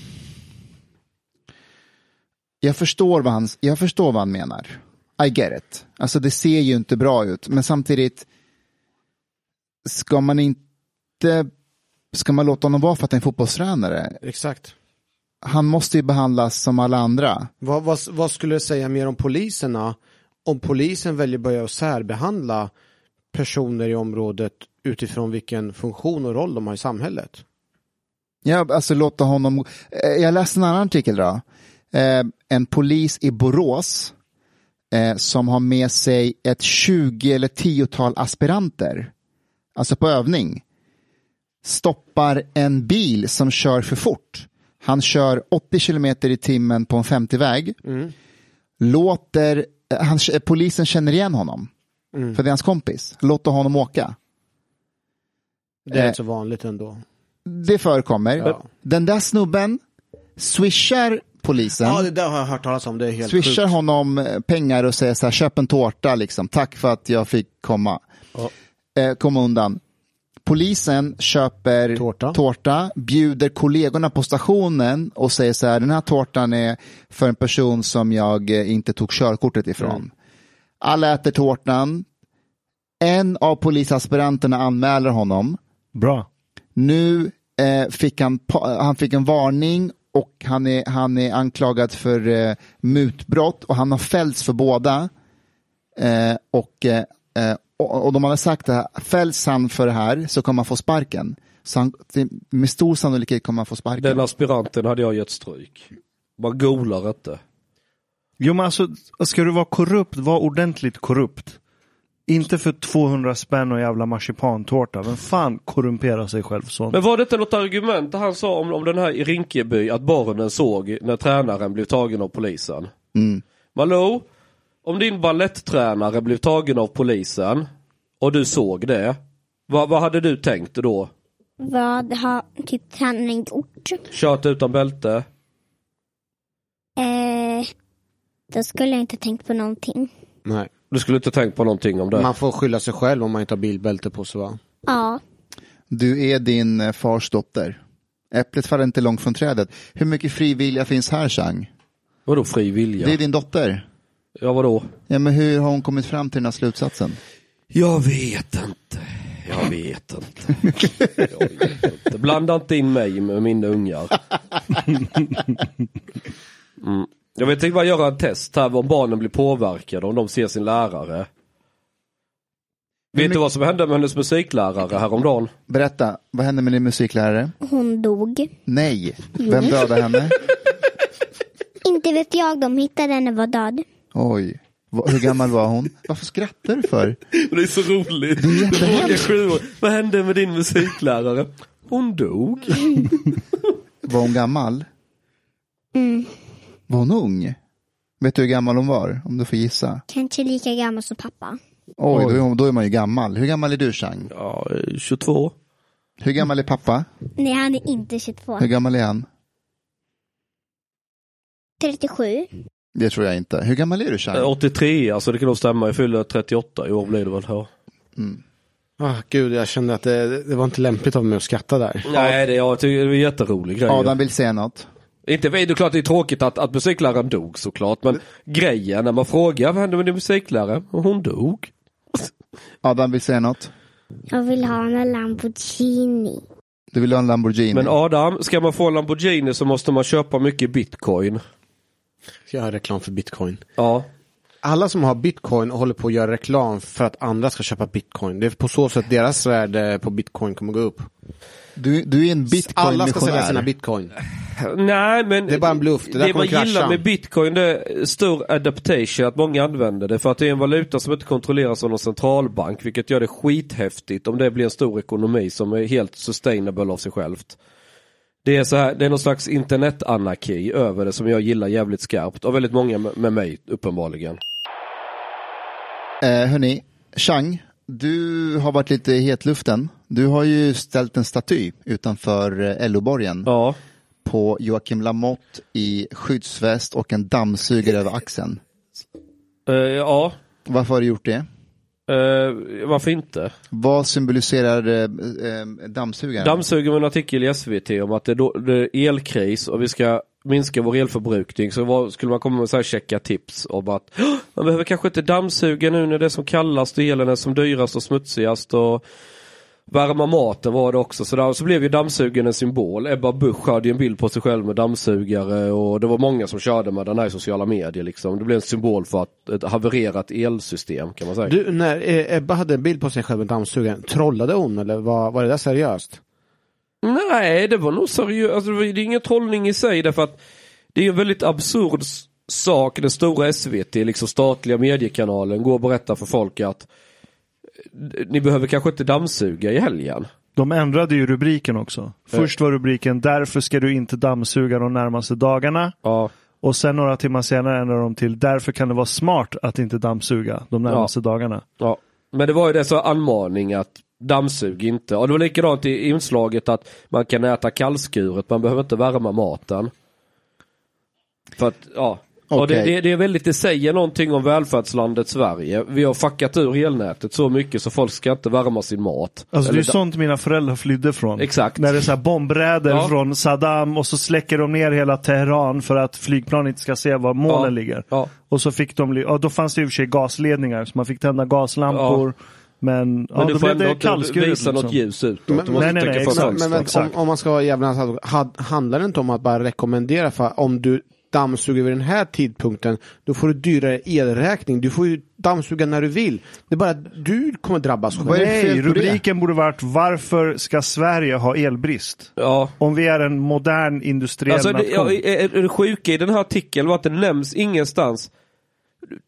jag förstår, vad han, jag förstår vad han menar. I get it. Alltså det ser ju inte bra ut, men samtidigt, ska man inte, ska man låta honom vara för att han är fotbollstränare? Exakt. Han måste ju behandlas som alla andra. Vad, vad, vad skulle du säga mer om poliserna? Om polisen väljer börja särbehandla personer i området utifrån vilken funktion och roll de har i samhället. Ja, alltså låta honom... Eh, Jag läste en annan artikel då. Eh, En polis i Borås eh, som har med sig ett 20 eller 10-tal aspiranter, alltså på övning, stoppar en bil som kör för fort. Han kör 80 kilometer i timmen på en 50-väg. Låter, eh, han, polisen känner igen honom, för det är hans kompis. Låter honom åka. Det är Eh. inte så vanligt ändå. Det förekommer. Ja. Den där snubben swishar polisen, Ja, det där har jag hört talas om. Det är helt swishar sjukt. honom eh, pengar och säger så här, köp en tårta liksom, tack för att jag fick komma. Eh, komma undan. Polisen köper Tårta. bjuder kollegorna på stationen och säger så här, den här tårtan är för en person som jag eh, inte tog körkortet ifrån. Mm. Alla äter tårtan. En av polisaspiranterna anmäler honom. Bra. Nu eh, fick han, pa- han fick en varning och han är, han är anklagad för eh, mutbrott och han har fällts för båda. Eh, och, eh, eh, och, och de hade sagt att fälls han för det här så kommer han få sparken. Så han, det- med stor sannolikhet kommer han få sparken. Den aspiranten hade jag gett stryk. Man golar inte. Jo men alltså, ska du vara korrupt, var ordentligt korrupt. Inte för 200 spänn och jävla marsipantårta. Vem fan korrumperar sig själv sånt? Men var det inte något argument han sa om, om den här i Rinkeby att barnen såg när tränaren blev tagen av polisen? Mm. Malou, om din balletttränare blev tagen av polisen och du såg det, vad, vad hade du tänkt då? Vad har typ tränaren gjort? Kört utan bälte? Eh, då skulle jag inte tänkt på någonting. Nej. Du skulle inte tänkt på någonting om det? Man får skylla sig själv om man inte har bilbälte på sig va? Ja, Du är din eh, fars dotter. Äpplet faller inte långt från trädet. Hur mycket frivilliga finns här, Chang? Vadå fri vilja? Det är din dotter. Ja vadå? Ja, men hur har hon kommit fram till den här slutsatsen? Jag vet inte. Jag vet inte. Jag vet inte. Blanda inte in mig med mina ungar. Mm. Jag vet inte bara göra ett test här om barnen blir påverkade om de ser sin lärare. Vet du vad som hände med hennes musiklärare häromdagen? Berätta, vad hände med din musiklärare? hon dog. Nej, vem dödade henne? Inte vet jag, de hittade henne var död. Oj, Va- hur gammal var hon? Varför skrattar du för? Det är så roligt. Det frågar sju år. Vad hände med din musiklärare? Hon dog. Var hon gammal? Var hon ung? Vet du hur gammal hon var? Om du får gissa. Kanske lika gammal som pappa. Oj, Då, är hon, då är man ju gammal. Hur gammal är du, Chang? Ja, 22. Hur gammal är pappa? Nej, han är inte 22. Hur gammal är han? 37. Det tror jag inte. Hur gammal är du, Eh, Chang? 83, alltså det kan nog stämma. Jag fyller 38 i år blir det väl. Ja. Ah, gud, jag kände att det, det var inte lämpligt av mig att skratta där. Nej, det, jag tycker det är en jätterolig grej. Adam vill säga något. Inte vi, det är klart det är tråkigt att, att musikläraren dog såklart, men grejen när man frågar vad hände med din musiklärare? Och hon dog. Adam vill säga något. Jag vill ha en Lamborghini. Du vill ha en Lamborghini. Men Adam, ska man få en Lamborghini så måste man köpa mycket bitcoin. Ska jag göra reklam för bitcoin? Ja. Alla som har bitcoin håller på att göra reklam för att andra ska köpa bitcoin. Det är på så sätt deras värde på bitcoin kommer gå upp. du, du är en Alla ska sälja bitcoin-missionär. sina bitcoin. Nej men. Det är bara en bluff, det där man kommer krascha. gillar med bitcoin det är stor adaptation, att många använder det för att det är en valuta som inte kontrolleras av någon centralbank, vilket gör det skithäftigt om det blir en stor ekonomi som är helt sustainable av sig självt. Det är så här, det är någon slags internetanarki över det som jag gillar jävligt skarpt och väldigt många med med mig uppenbarligen. Eh, hörni, Chang, du har varit lite i hetluften. Du har ju ställt en staty utanför eh, LO-borgen. Ja, på Joakim Lamotte i skyddsväst och en dammsugare över axeln. Eh, ja. Varför har du gjort det? Eh, varför inte? Vad symboliserar eh, eh, dammsugaren? Dammsuger med en artikel i SVT om att det är, då, det är elkris och vi ska minska vår elförbrukning. Så vad, skulle man komma med så här checka tips om att "Åh, man behöver kanske inte dammsuga nu när det är som kallast och elen är som dyrast och smutsigast och Värma maten var det också så, där, så blev ju dammsugaren en symbol. Ebba Busch hade ju en bild på sig själv med dammsugare och det var många som körde med den här i sociala medier liksom. Det blev en symbol för att, ett havererat elsystem kan man säga. Du, när eh, Ebba hade en bild på sig själv med dammsugaren, trollade hon eller var, var det där seriöst? Nej, det var nog seriöst. Alltså, det var- det är ingen trollning i sig därför att det är en väldigt absurd s- sak. Den stora SVT, liksom statliga mediekanalen, går och berättar för folk att eh, ni behöver kanske inte dammsuga i helgen. De ändrade ju rubriken också. Eh. Först var rubriken Därför ska du inte dammsuga de närmaste dagarna. Ja. Och sen några timmar senare ändrade de till Därför kan det vara smart att inte dammsuga de närmaste dagarna. Ja, men det var ju det så anmaning att dammsug inte. Och det var likadant i inslaget att man kan äta kallskuret, man behöver inte värma maten. För att, ja. Och det, Okej. det, det är väldigt, det säger någonting om välfärdslandet Sverige. Vi har fuckat ur elnätet så mycket så folk ska inte värma sin mat. Alltså det är Eller ju sånt mina föräldrar flydde från. Exakt. När det är så här bombräder Ja. från Saddam och så släcker de ner hela Teheran för att flygplan inte ska se var målen Ja. ligger. Ja. Och så fick de, li- ja, då fanns det i och för sig gasledningar så man fick tända gaslampor. Men, ja, Men du då får blev ändå det inte kallskuret. visa Liksom. något ljus utåt. Men- Du måste nej, nej, tänka nej, för Men, men, fönstret. exakt. men om, exakt. om man ska vara djävulens advokat, had- handlar det inte om att bara rekommendera för om du dammsuger vid den här tidpunkten, då får du dyrare elräkning. Du får ju dammsuga när du vill. Det är bara att du kommer drabbas själv. Vad är det för Nej, fel på det? rubriken borde varit Varför ska Sverige ha elbrist? Ja. Om vi är en modern industriell Alltså, det, ja, nation. är, är det sjuka i den här artikeln var att det nämns ingenstans.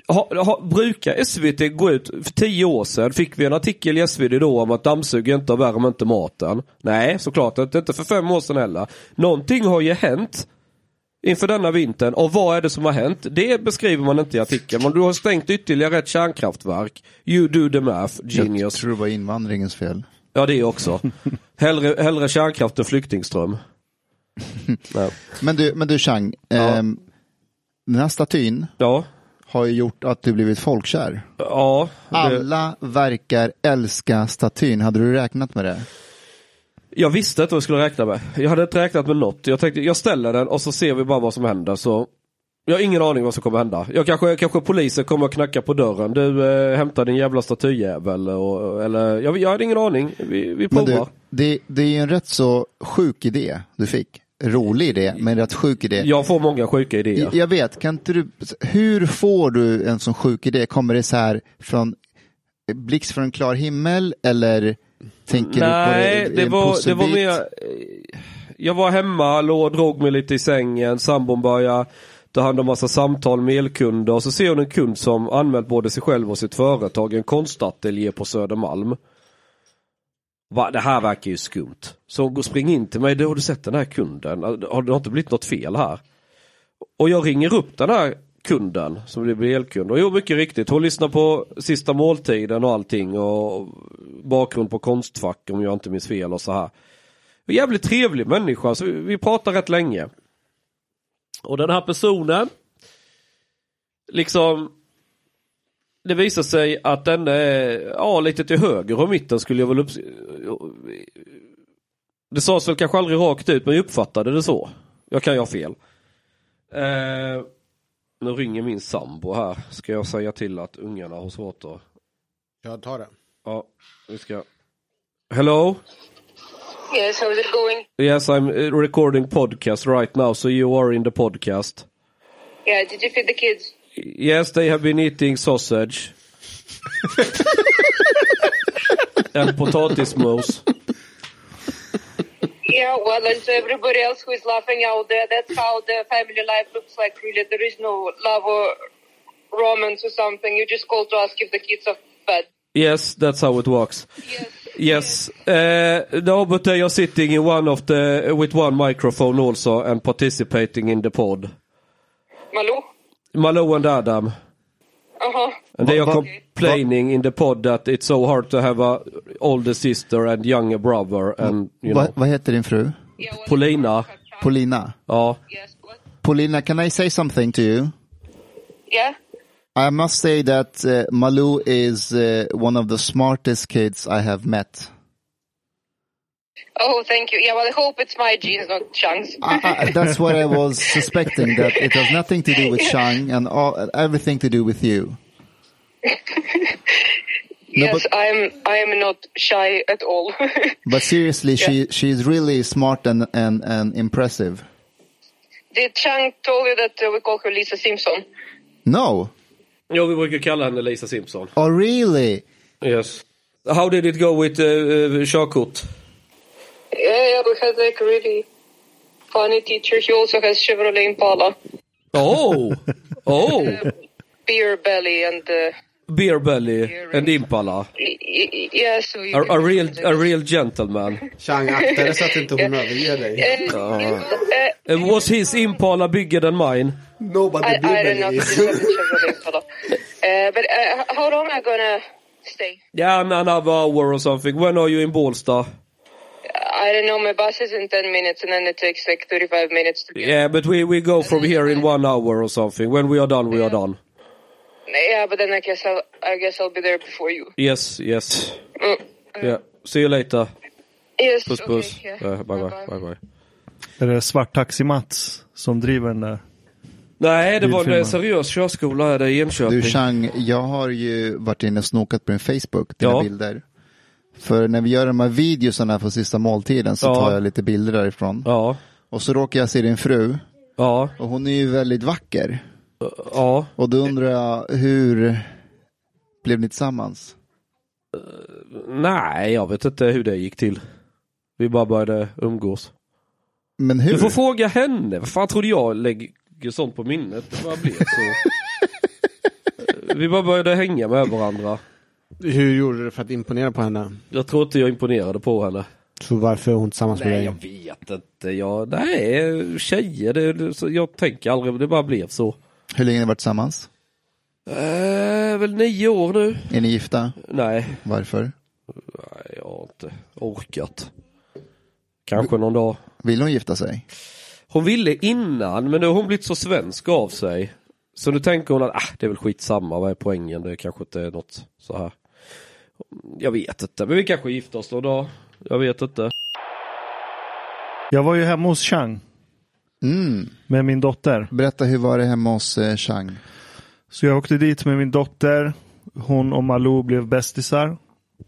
Ha, ha, brukar SVT gå ut, för tio år sedan fick vi en artikel i SVT då om att dammsug inte och värm inte maten. Nej, såklart inte. Inte för fem år sedan heller. Någonting har ju hänt inför denna vintern och vad är det som har hänt? Det beskriver man inte i artikeln. Men du har stängt ytterligare ett kärnkraftverk. You do the math, Jag genius. tror det var invandringens fel. Ja, det också. Hellre, hellre kärnkraft än flyktingström. Ja. Men du, men du Chang, ehm, den här statyn Ja. har ju gjort att du blivit folkkär. Ja, det, Alla verkar älska statyn. Hade du räknat med det? jag visste inte vad jag skulle räkna med. Jag hade inte räknat med något. Jag tänkte, jag ställer den och så ser vi bara vad som händer. Så jag har ingen aning vad som kommer hända. Jag kanske, kanske polisen kommer att knacka på dörren. Du eh, hämtar din jävla statyjävel. Och, eller, jag, jag hade ingen aning. Vi, vi Men provar. du, det, det är ju en rätt så sjuk idé du fick. Rolig idé, men rätt sjuk idé. Jag får många sjuka idéer. Jag- Jag vet, kan inte du, hur får du en sån sjuk idé? Kommer det så här från blixt från en klar himmel eller tänker Nej, du på det, i det, en var, det pusselbit? var mer... eh, Jag var hemma, låg och drog mig lite i sängen. Sambon började ta hand om massa samtal med elkunder. Och så ser hon en kund som anmält både sig själv och sitt företag. En konstateljé på Södermalm. Va, det här verkar ju skumt. Så hon går och springer in till mig. Du, har du sett den här kunden? Har det har inte blivit något fel här? Och jag ringer upp den här kunden som blir elkund. Och jo, mycket riktigt. Hon lyssnar på sista måltiden och allting. Och bakgrund på Konstfack om jag inte minns fel och så här. Jävligt trevlig människa, så vi, vi pratar rätt länge. Och den här personen, liksom, det visar sig att den är, ja lite till höger och mitten skulle jag väl upp... Det sades väl kanske aldrig rakt ut men jag uppfattade det så. Jag kan ju ha fel. Eh, nu ringer min sambo här, ska jag säga till att ungarna har svårt att Jag tar det. Ja, vi ska... Hello? Yes, how's it going? Yes, I'm uh, recording podcast right now, so you are in the podcast. Yeah, did you feed the kids? Yes, they have been eating sausage. And potatismos. Yeah, well, as everybody else who is laughing out there, that's how the family life looks like, really. There is no love or romance or something. You just call to ask if the kids are fed. Yes, that's how it works. Yes. Uh, no, but they are sitting in one of the with one microphone also and participating in the pod. Malou? Malou and Adam. Uh-huh. And they are complaining in the pod that it's so hard to have a older sister and younger brother and you Va, know. vad heter din fru? Yeah, well, Polina. Polina. Ja. Yes, what? Polina, can I say something to you? Yeah? I must say that uh, Malou is uh, one of the smartest kids I have met. Oh, thank you. Yeah, well, I hope it's my genes, not Chang's. I, I, Ah, that's what I was suspecting, that it has nothing to do with Shang and all, everything to do with you. yes, but- I am. I am not shy at all. But seriously, she she's really smart and and, and impressive. Did Chang tell you that uh, we call her Lisa Simpson? No. Ja, vi brukar kalla henne Lisa Simpson. Oh really? Yes. How did it go with uh, uh, körkort? Yeah, yeah, we had like really funny teacher. He also has Chevrolet Impala, Oh! Oh! beer belly, and uh, Beer belly and impala. y- y- yeah. So you A, can- a real, a real gentleman. Chang, akta dig så att inte hon överger dig. Uh, uh, Uh, was his impala bigger than mine? Nobody I, I don't know. blir if this is a Chevrolet Impala. Uh, but uh, h- how long am I gonna stay? Yeah, an- another hour or something. When are you in Bålsta? I don't know. My bus is in ten minutes, and then it takes like thirty-five minutes to get. Yeah, but we, we go from here in one hour or something. When we are done, we are done. Yeah, but then I guess I'll. I guess I'll be there before you. Yes, yes. Mm. Yeah. See you later. Yes. Puss okay, puss. yeah. Eh, bye, bye, Bye-bye. bye, bye. Är det Svarttaxi-Mats som driver den där? Nej, det var en eh, Bilfirma. seriös körskola här i Enköping. Du Chang, jag har ju varit inne och snokat på din Facebook, dina Ja. bilder. För när vi gör de här videosarna på sista måltiden så Ja. tar jag lite bilder därifrån. Ja, Och så råkar jag se din fru ja, och hon är ju väldigt vacker. ja. Och då undrar jag, hur blev ni tillsammans? Nej, jag vet inte hur det gick till. Vi bara började umgås. Men hur? Du får fråga henne. Vad fan trodde jag lägger sånt på minnet? Det bara blev så. Eh, Vi bara började hänga med varandra. Hur gjorde du för att imponera på henne? Jag tror inte jag imponerade på henne. Så varför är hon tillsammans med Nej, dig? jag vet inte. Jag, nej, tjejer, det, det, så jag tänker aldrig, det bara blev så. Hur länge har ni varit tillsammans? Eh, väl nio år nu? Är ni gifta? Nej, Varför? nej, jag har inte orkat. Kanske någon dag. Vill hon gifta sig? Hon ville innan, men nu har hon blivit så svensk av sig. Så nu tänker hon att ah, det är väl skitsamma, vad är poängen? Det kanske inte är något så här. Jag vet inte, men vi kanske gifter oss någon dag. Jag vet inte. Jag var ju hemma hos Chang Mm. med min dotter. Berätta, hur var det hemma hos eh, Chang? Så jag åkte dit med min dotter. Hon och Malou blev bästisar.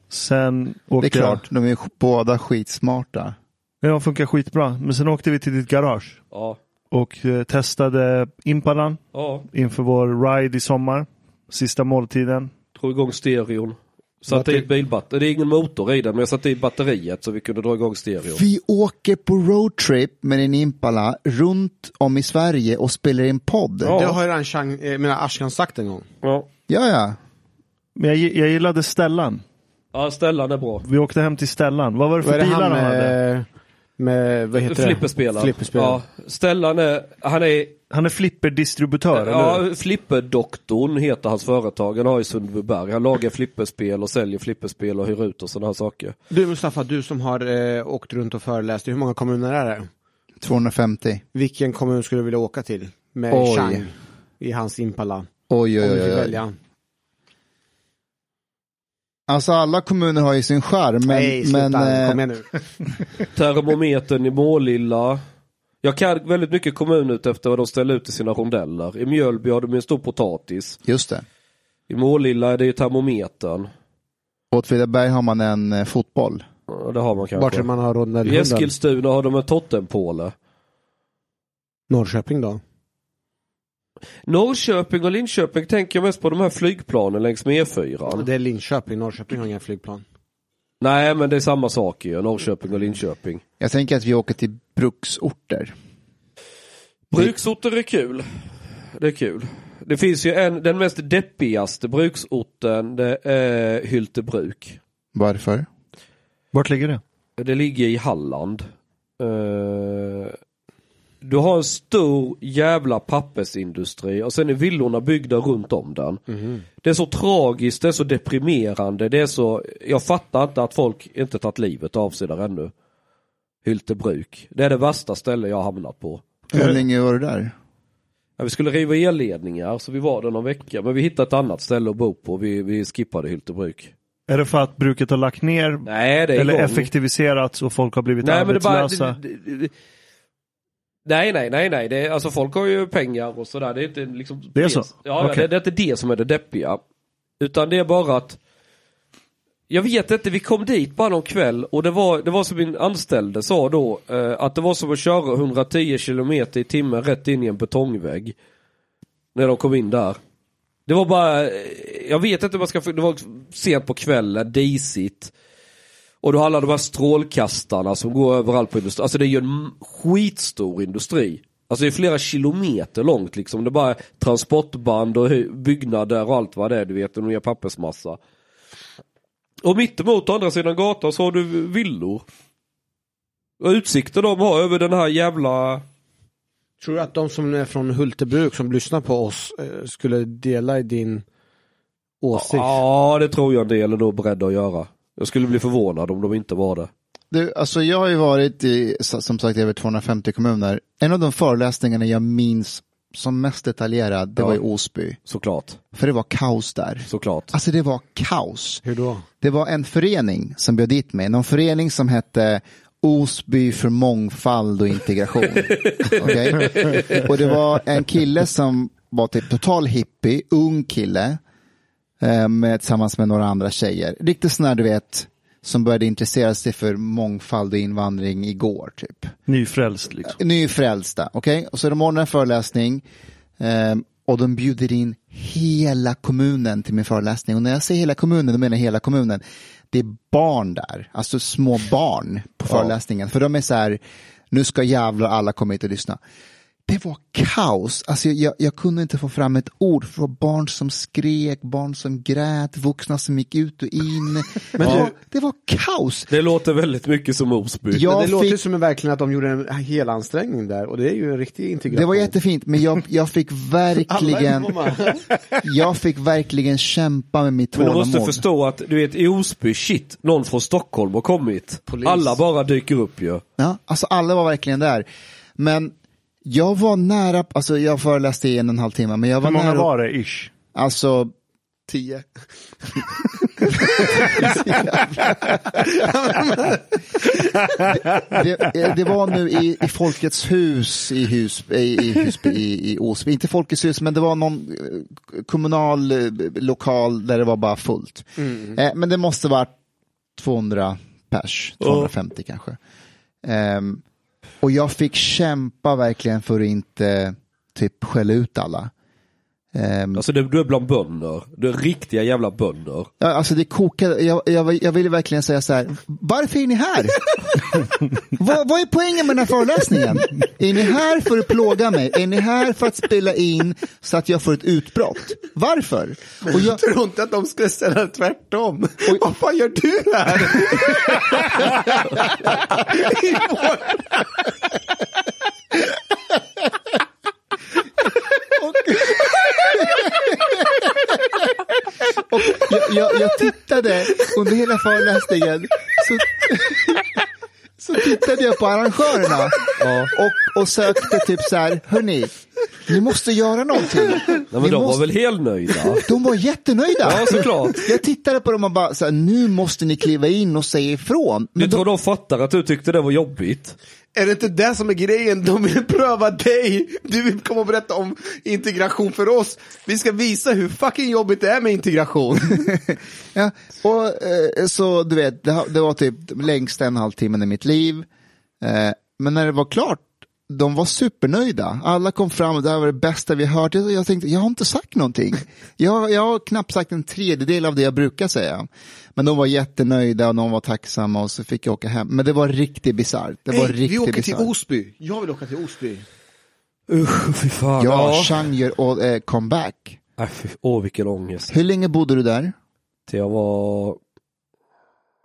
Sen Det är åkte jag... klart, de är sk- båda skitsmarta. Nej, de funkar skitbra. Men sen åkte vi till ditt garage Ja, och eh, testade Impalan ja, inför vår ride i sommar. Sista måltiden. drog igång stereon. Satte i bilbatteri, det är ingen motor i den, men jag satte i batteriet så vi kunde dra igång stereon. Vi åker på roadtrip med en Impala runt om i Sverige och spelar in podd. Ja. Ja, Det har ju redan Chang, eh, menar Ashkan sagt en gång. Ja, ja. Men jag, gi- jag gillade Stellan. ja Stellan är bra. Vi åkte hem till Stellan. Vad var det för Vad är det bilar han de hade? med, med, vad heter det? Flipperspelaren. Flipperspelaren. Ja, Stellan är, han är, Han är flipperdistributör, eller hur? ja, Flipperdoktorn heter hans företag. Han har i Sundbyberg. Han lagar flipperspel och säljer flipperspel och hyr ut och sådana här saker. Du Mustafa, du som har eh, åkt runt och föreläst, i hur många kommuner är det? 250. Vilken kommun skulle du vilja åka till med Oj. Chang i hans Impala? Oj, Om oj, du fick oj. oj. välja. Alltså alla kommuner har ju sin charm, men, Nej, sluta, men eh, kom igen nu. Termometern i Målilla. Jag kan väldigt mycket kommun ut efter vad de ställer ut i sina rondeller. I Mjölby har de ju en stor potatis. just det. I Målilla är det ju termometern. Åtvidaberg har man en eh, fotboll. Ja, Det har man kanske. Vart är det man har I rondellhunden? Eskilstuna har de en Tottenpåle. Norrköping då? Norrköping och Linköping tänker jag mest på de här flygplanen längs med E E4. Det är Linköping, Norrköping har inga flygplan. Nej men det är samma sak ju, Norrköping och Linköping. Jag tänker att vi åker till bruksorter. Bruksorter är kul. Det är kul. Det finns ju en, den mest deppigaste bruksorten, det är Hyltebruk. Varför? Vart ligger det? Det ligger i Halland. Eh, du har en stor jävla pappersindustri och sen är villorna byggda runt om den. Det är så tragiskt, det är så deprimerande, det är så, jag fattar inte att folk inte tagit livet av sig där ännu. Hyltebruk. Det är det värsta ställe jag har hamnat på. Eh. Hur länge var du där? Ja, vi skulle riva elledningar så vi var där någon vecka men vi hittade ett annat ställe att bo på. Vi, vi skippade Hyltebruk. Är det för att bruket har lagt ner? Nej det är eller igång. effektiviserats och folk har blivit nej, men det är bara, arbetslösa? det, det, det, Nej nej nej nej, det, är- alltså folk har ju pengar och sådär. Det är inte liksom Det är så? Ja, ja, Okej. det, det är inte det som är det deppiga. Utan det är bara att Jag vet inte, vi kom dit bara någon kväll och det var, det var som min anställde sa då, eh, att det var som att köra 110 kilometer i timmen rätt in i en betongvägg. När de kom in där. Det var bara, eh, jag vet inte hur man ska, för- det var sent på kvällen, disigt. Och du har alla de här strålkastarna som går överallt på industrin. Alltså det är ju en m- skitstor industri. Alltså det är flera kilometer långt liksom. Det är bara transportband och hu- byggnader och allt vad det är du vet. Och nya pappersmassa. Och mittemot å andra sidan gatan så har du villor. Och utsikten de har över den här jävla... Tror du att de som är från Hultebruk som lyssnar på oss eh, skulle dela i din åsikt? Ja det tror jag en del är nog beredda att göra. Jag skulle bli förvånad om de inte var det. Du, alltså jag har ju varit i, s- som sagt, över 250 kommuner. En av de föreläsningarna jag minns som mest detaljerad, det Ja. var i Osby. Såklart, För det var kaos där. såklart. Alltså det var kaos. Hur då? Det var en förening som bjöd dit mig, någon förening som hette Osby för mångfald och integration. Okej? Och det var en kille som var typ total hippie, ung kille, eh, med, tillsammans med några andra tjejer. Riktigt sån här, du vet, som började intressera sig för mångfald och invandring igår, typ Nyfrälst Eh, liksom. nyfrälsta. Okej, och så de ordnar en föreläsning eh, och de bjuder in hela kommunen till min föreläsning. Och när jag säger hela kommunen, då menar jag hela kommunen. Det är barn där, alltså små barn på föreläsningen. För de är så här, nu ska jävlar alla komma hit och lyssna. Det var kaos. Alltså jag, jag kunde inte få fram ett ord. För det var barn som skrek, barn som grät, vuxna som gick ut och in. Men det, var, det var kaos. Det låter väldigt mycket som Osby. Jag Men det låter fick- som en- verkligen att de gjorde en hel ansträngning där och det är ju en riktig integration. Det var jättefint, men jag, jag fick verkligen... Jag fick verkligen kämpa med mitt Men du måste tålamod. förstå att, du vet i Osby, shit, någon från Stockholm har kommit. Alla bara dyker upp ju. Ja, alltså alla var verkligen där. Men jag var nära, alltså jag föreläste i en och en halv timme, men jag var Hur många nära. var det ish? Alltså, tio. det, eh, det var nu i, i Folkets hus i, hus, eh, i, Husby, i, i Osby, inte Folkets hus, men det var någon eh, kommunal eh, lokal där det var bara fullt. Eh, men det måste varit 200 pers, 250 kanske. Ehm, och jag fick kämpa verkligen för att inte typ skälla ut alla. Ehm, Alltså du, du är bland bönder. Du är riktiga jävla bönder. Ja, Alltså det kokade, jag, jag, jag ville verkligen säga så här, varför är ni här? vad, vad är poängen med den här föreläsningen? Är ni här för att plåga mig? Är ni här för att spela in så att jag får ett utbrott? Varför? Och jag, tror inte att de skulle ställa tvärtom. Vad fan gör du här? och jag, jag, jag tittade under hela föreläsningen, så, så tittade jag på arrangörerna och, och sökte typ så här, hörni, ni måste göra någonting. Nej, Ni men de var måste- väl helnöjda? De var jättenöjda. Ja, såklart. Jag tittade på dem och bara, så här, nu måste ni kliva in och säga ifrån. Du Men tror de fattar att du tyckte det var jobbigt? Är det inte det som är grejen? De vill pröva dig. Du vill komma och berätta om integration för oss. Vi ska visa hur fucking jobbigt det är med integration. ja, och, eh, så du vet, det, har- det var typ längst en halvtimme i mitt liv. Eh, men när det var klart, de var supernöjda. Alla kom fram och det här var det bästa vi hört. Jag jag tänkte, jag har inte sagt någonting. Jag, jag har knappt sagt en tredjedel av det jag brukar säga. Men de var jättenöjda och de var tacksamma och så fick jag åka hem. Men det var riktigt bisarrt. Det var riktigt vi åker till bisarrt. Osby. Jag vill åka till Osby. Usch, fy fan. Ja, Chang gör all- eh, comeback. Äh, fy, åh, vilken ångest. Hur länge bodde du där? Till jag var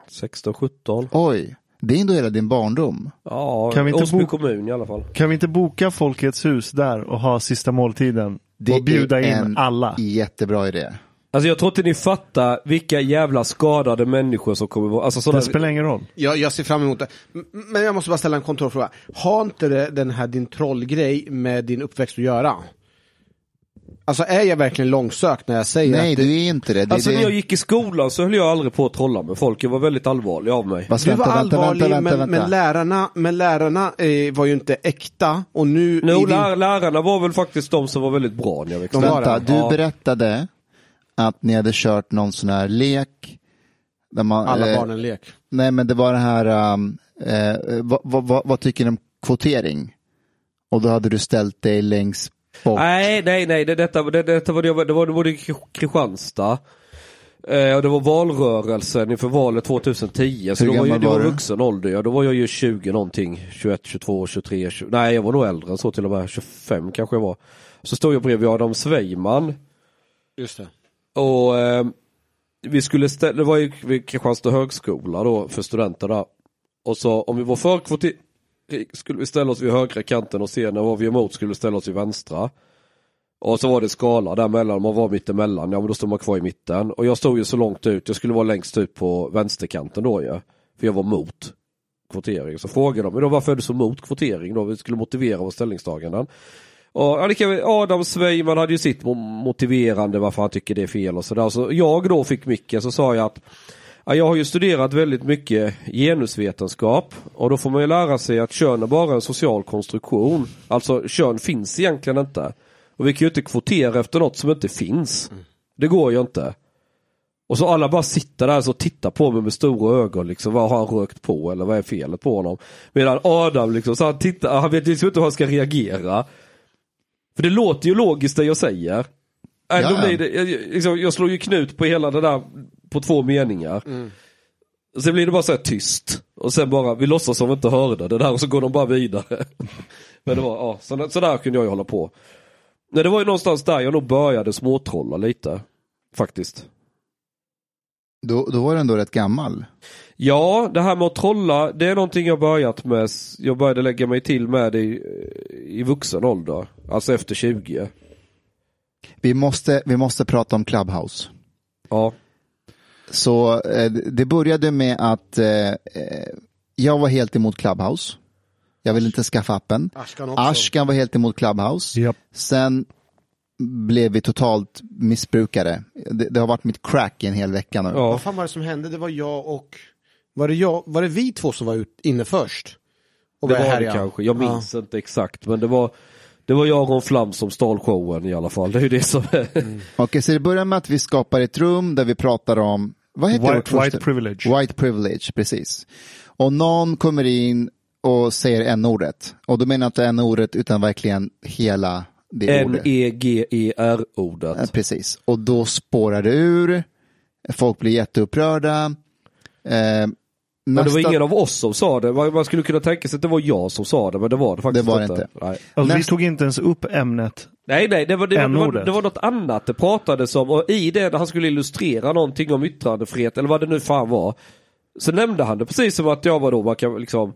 16, 17. Oj, det är ändå hela din barndom. Ja, Kan vi inte Osby bo- kommun i alla fall. Kan vi inte boka Folkets hus där och ha sista måltiden? Det och bjuda är in en alla. Jättebra idé. Alltså jag tror inte ni fattar vilka jävla skadade människor som kommer vara. Alltså Det sådana... spelar ingen roll. Jag, jag ser fram emot det. M- Men jag måste bara ställa en kontrollfråga. Har inte det, den här din trollgrej med din uppväxt att göra? Alltså är jag verkligen långsökt när jag säger Nej, att det, du är inte det. det, Alltså det... när jag gick i skolan så höll jag aldrig på att trolla med folk. Jag var väldigt allvarlig av mig. Fast du vänta, var vänta, allvarlig vänta, vänta, men, vänta. men lärarna, men lärarna eh, var ju inte äkta och nu... i No, din- lär, lärarna var väl faktiskt de som var väldigt bra när jag växte De upp. var vänta. det. Du Ja. berättade att ni hade kört någon sån här lek Där man, Alla eh, barnen lek. Nej, men det var det här, um, eh, vad, vad, vad, vad tycker ni om kvotering? Och då hade du ställt dig längst bort. Nej, nej, nej, det, detta, det, detta var det, jag var- det var, det var det i Kri- Kristianstad. Eh, och det var valrörelsen inför valet 2010, så Hur då var, ju, gammal det var var du? vuxen ålder, ja, då var jag ju 20 någonting, 21, 22, 23, 20, nej jag var nog äldre än så till och med, 25 kanske jag var. Så stod jag bredvid Adam Sveiman Just det. och eh, vi skulle ställa, det var ju vid Kristianstad högskola då för studenterna. Och så om vi var för kvotering skulle vi ställa oss vid högra kanten och se när var vi emot skulle vi ställa oss vid vänstra. Och så var det skala däremellan, man var mittemellan, ja men då stod man kvar i mitten. Och jag stod ju så långt ut, jag skulle vara längst ut på vänsterkanten då ju. För jag var mot kvotering. Så frågade de, men då varför är du så mot kvotering då? Vi skulle motivera våra ställningstaganden. Och ja, det kan vi- Adam Sveiman hade ju sitt mo- motiverande varför han tycker det är fel och sådär. Så jag då fick micken så sa jag att ja, jag har ju studerat väldigt mycket genusvetenskap och då får man ju lära sig att kön är bara en social konstruktion. Alltså kön finns egentligen inte. Och vi kan ju inte kvotera efter något som inte finns. Det går ju inte. Och så alla bara sitter där och tittar på mig med stora ögon liksom. Vad har han rökt på eller vad är felet på honom? Medan Adam liksom, så han tittar, han vet liksom inte hur han ska reagera. För det låter ju logiskt det jag säger. Äh, Ja, då ja. blir det, jag, jag- liksom, jag slår ju knut på hela det där på två meningar. Mm. Sen blir det bara så här tyst. Och sen bara, vi låtsas som vi inte hörde det där och så går de bara vidare. Men det var, ja, så, så där kunde jag ju hålla på. Nej, det var ju någonstans där jag nog började småtrolla lite. Faktiskt. Då, då var du ändå rätt gammal. Ja, det här med att trolla, det är någonting jag börjat med. Jag började lägga mig till med det i, i vuxen ålder. Alltså efter 20. Vi måste, vi måste prata om Clubhouse. Ja. Så eh, det började med att eh, eh, jag var helt emot Clubhouse. Jag ville inte skaffa appen. Ashkan också. Ashkan var helt emot Clubhouse. Japp. Sen blev vi totalt missbrukare. Det, det har varit mitt crack i en hel vecka nu. ja. Vad fan var det som hände? Det var jag och... Var det, jag... var det vi två som var ut... inne först? Och Det började var det härja? kanske, jag minns inte exakt. Men det var, det var jag och Ron Flam som stal showen i alla fall. Det är ju det som är. Okej, så det börjar med att vi skapar ett rum där vi pratar om, vad heter White- vårt första- white privilege. White privilege, precis. Och någon kommer in och säger n-ordet. Och då menar jag inte n-ordet utan verkligen hela det ordet. E Ja, N-E-G-E-R-ordet. Eh, Precis, och då spårar det ur. Folk blir jätteupprörda. Eh, Men det var nästa- ingen av oss som sa det. Man man skulle kunna tänka sig att det var jag som sa det, men det var det faktiskt Det var det inte. inte. Nej. Alltså, vi Nästa- tog inte ens upp ämnet. Nej, nej, det var, det, var, det, var, N-ordet. det var något annat det pratades om och i det när han skulle illustrera någonting om yttrandefrihet eller vad det nu fan var. Så nämnde han det precis som att jag var då, man kan liksom,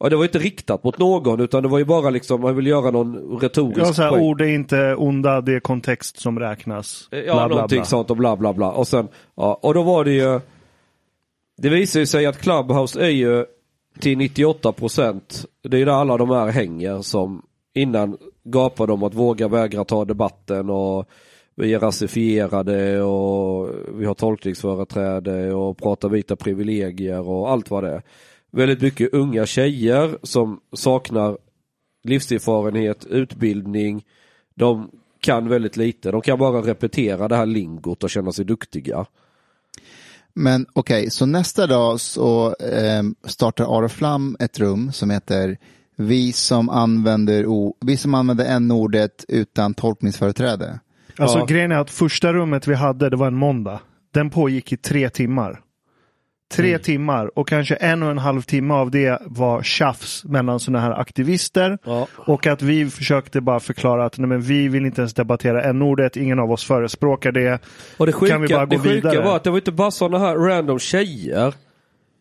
ja, det var ju inte riktat mot någon utan det var ju bara liksom, man vill göra någon retorisk Jag sa poäng. ord är inte onda, det är kontext som räknas. Eh, Ja, Bla, bla, någonting bla. sånt och bla bla bla. Och sen, ja, och då var det ju. Det visar ju sig att Clubhouse är ju till 98 procent. Det är ju där alla de här hänger som innan gapade om att våga vägra ta debatten och vi är rasifierade och vi har tolkningsföreträde och pratar vita privilegier och allt vad det är. Väldigt mycket unga tjejer som saknar livserfarenhet, utbildning. De kan väldigt lite. De kan bara repetera det här lingot och känna sig duktiga. Men okej, så nästa dag så ehm, startar Aro Flam ett rum som heter Vi som använder, o- vi som använder n-ordet utan tolkningsföreträde. Alltså Ja. grejen är att första rummet vi hade, det var en måndag. Den pågick i tre timmar. Tre Mm. timmar och kanske en och en halv timme av det var tjafs mellan sådana här aktivister. Ja. Och att vi försökte bara förklara att nej, men vi vill inte ens debattera n-ordet, ingen av oss förespråkar det. Och det Kan vi sjuka, bara det gå sjuka vidare? var att det var inte bara sådana här random tjejer,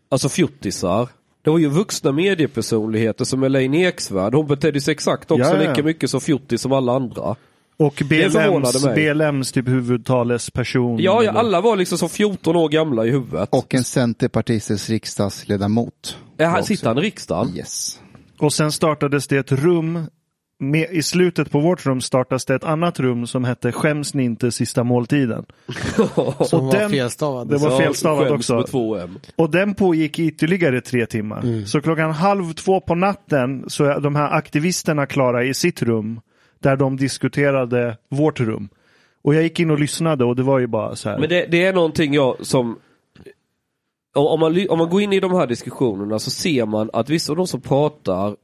alltså fjuttisar. Det var ju vuxna mediepersonligheter som Elaine Eksvärd. Hon betedde sig exakt också Ja, ja. lika mycket som fjuttis som alla andra. Och förvånade BLMs, mig. BLMs typ huvudtalesperson. Ja, ja, eller- alla var liksom som 14 år gamla i huvudet. Och en centerpartistisk riksdagsledamot. Äh, här också. sitter han i riksdagen? Yes. Och sen startades det ett rum. Med, I slutet på vårt rum startades det ett annat rum som hette Skäms ni inte sista måltiden? Som och var den- felstavad. Det var Ja, felstavat skäms också. Med två M. Och den pågick i ytterligare tre timmar. Så klockan halv två på natten så är de här aktivisterna klara i sitt rum. Där de diskuterade vårt rum. Och jag gick in och lyssnade och det var ju bara så här. Men det, det är någonting jag som om, om, man, ly- om man går in i de här diskussionerna så ser man att vissa av de som pratar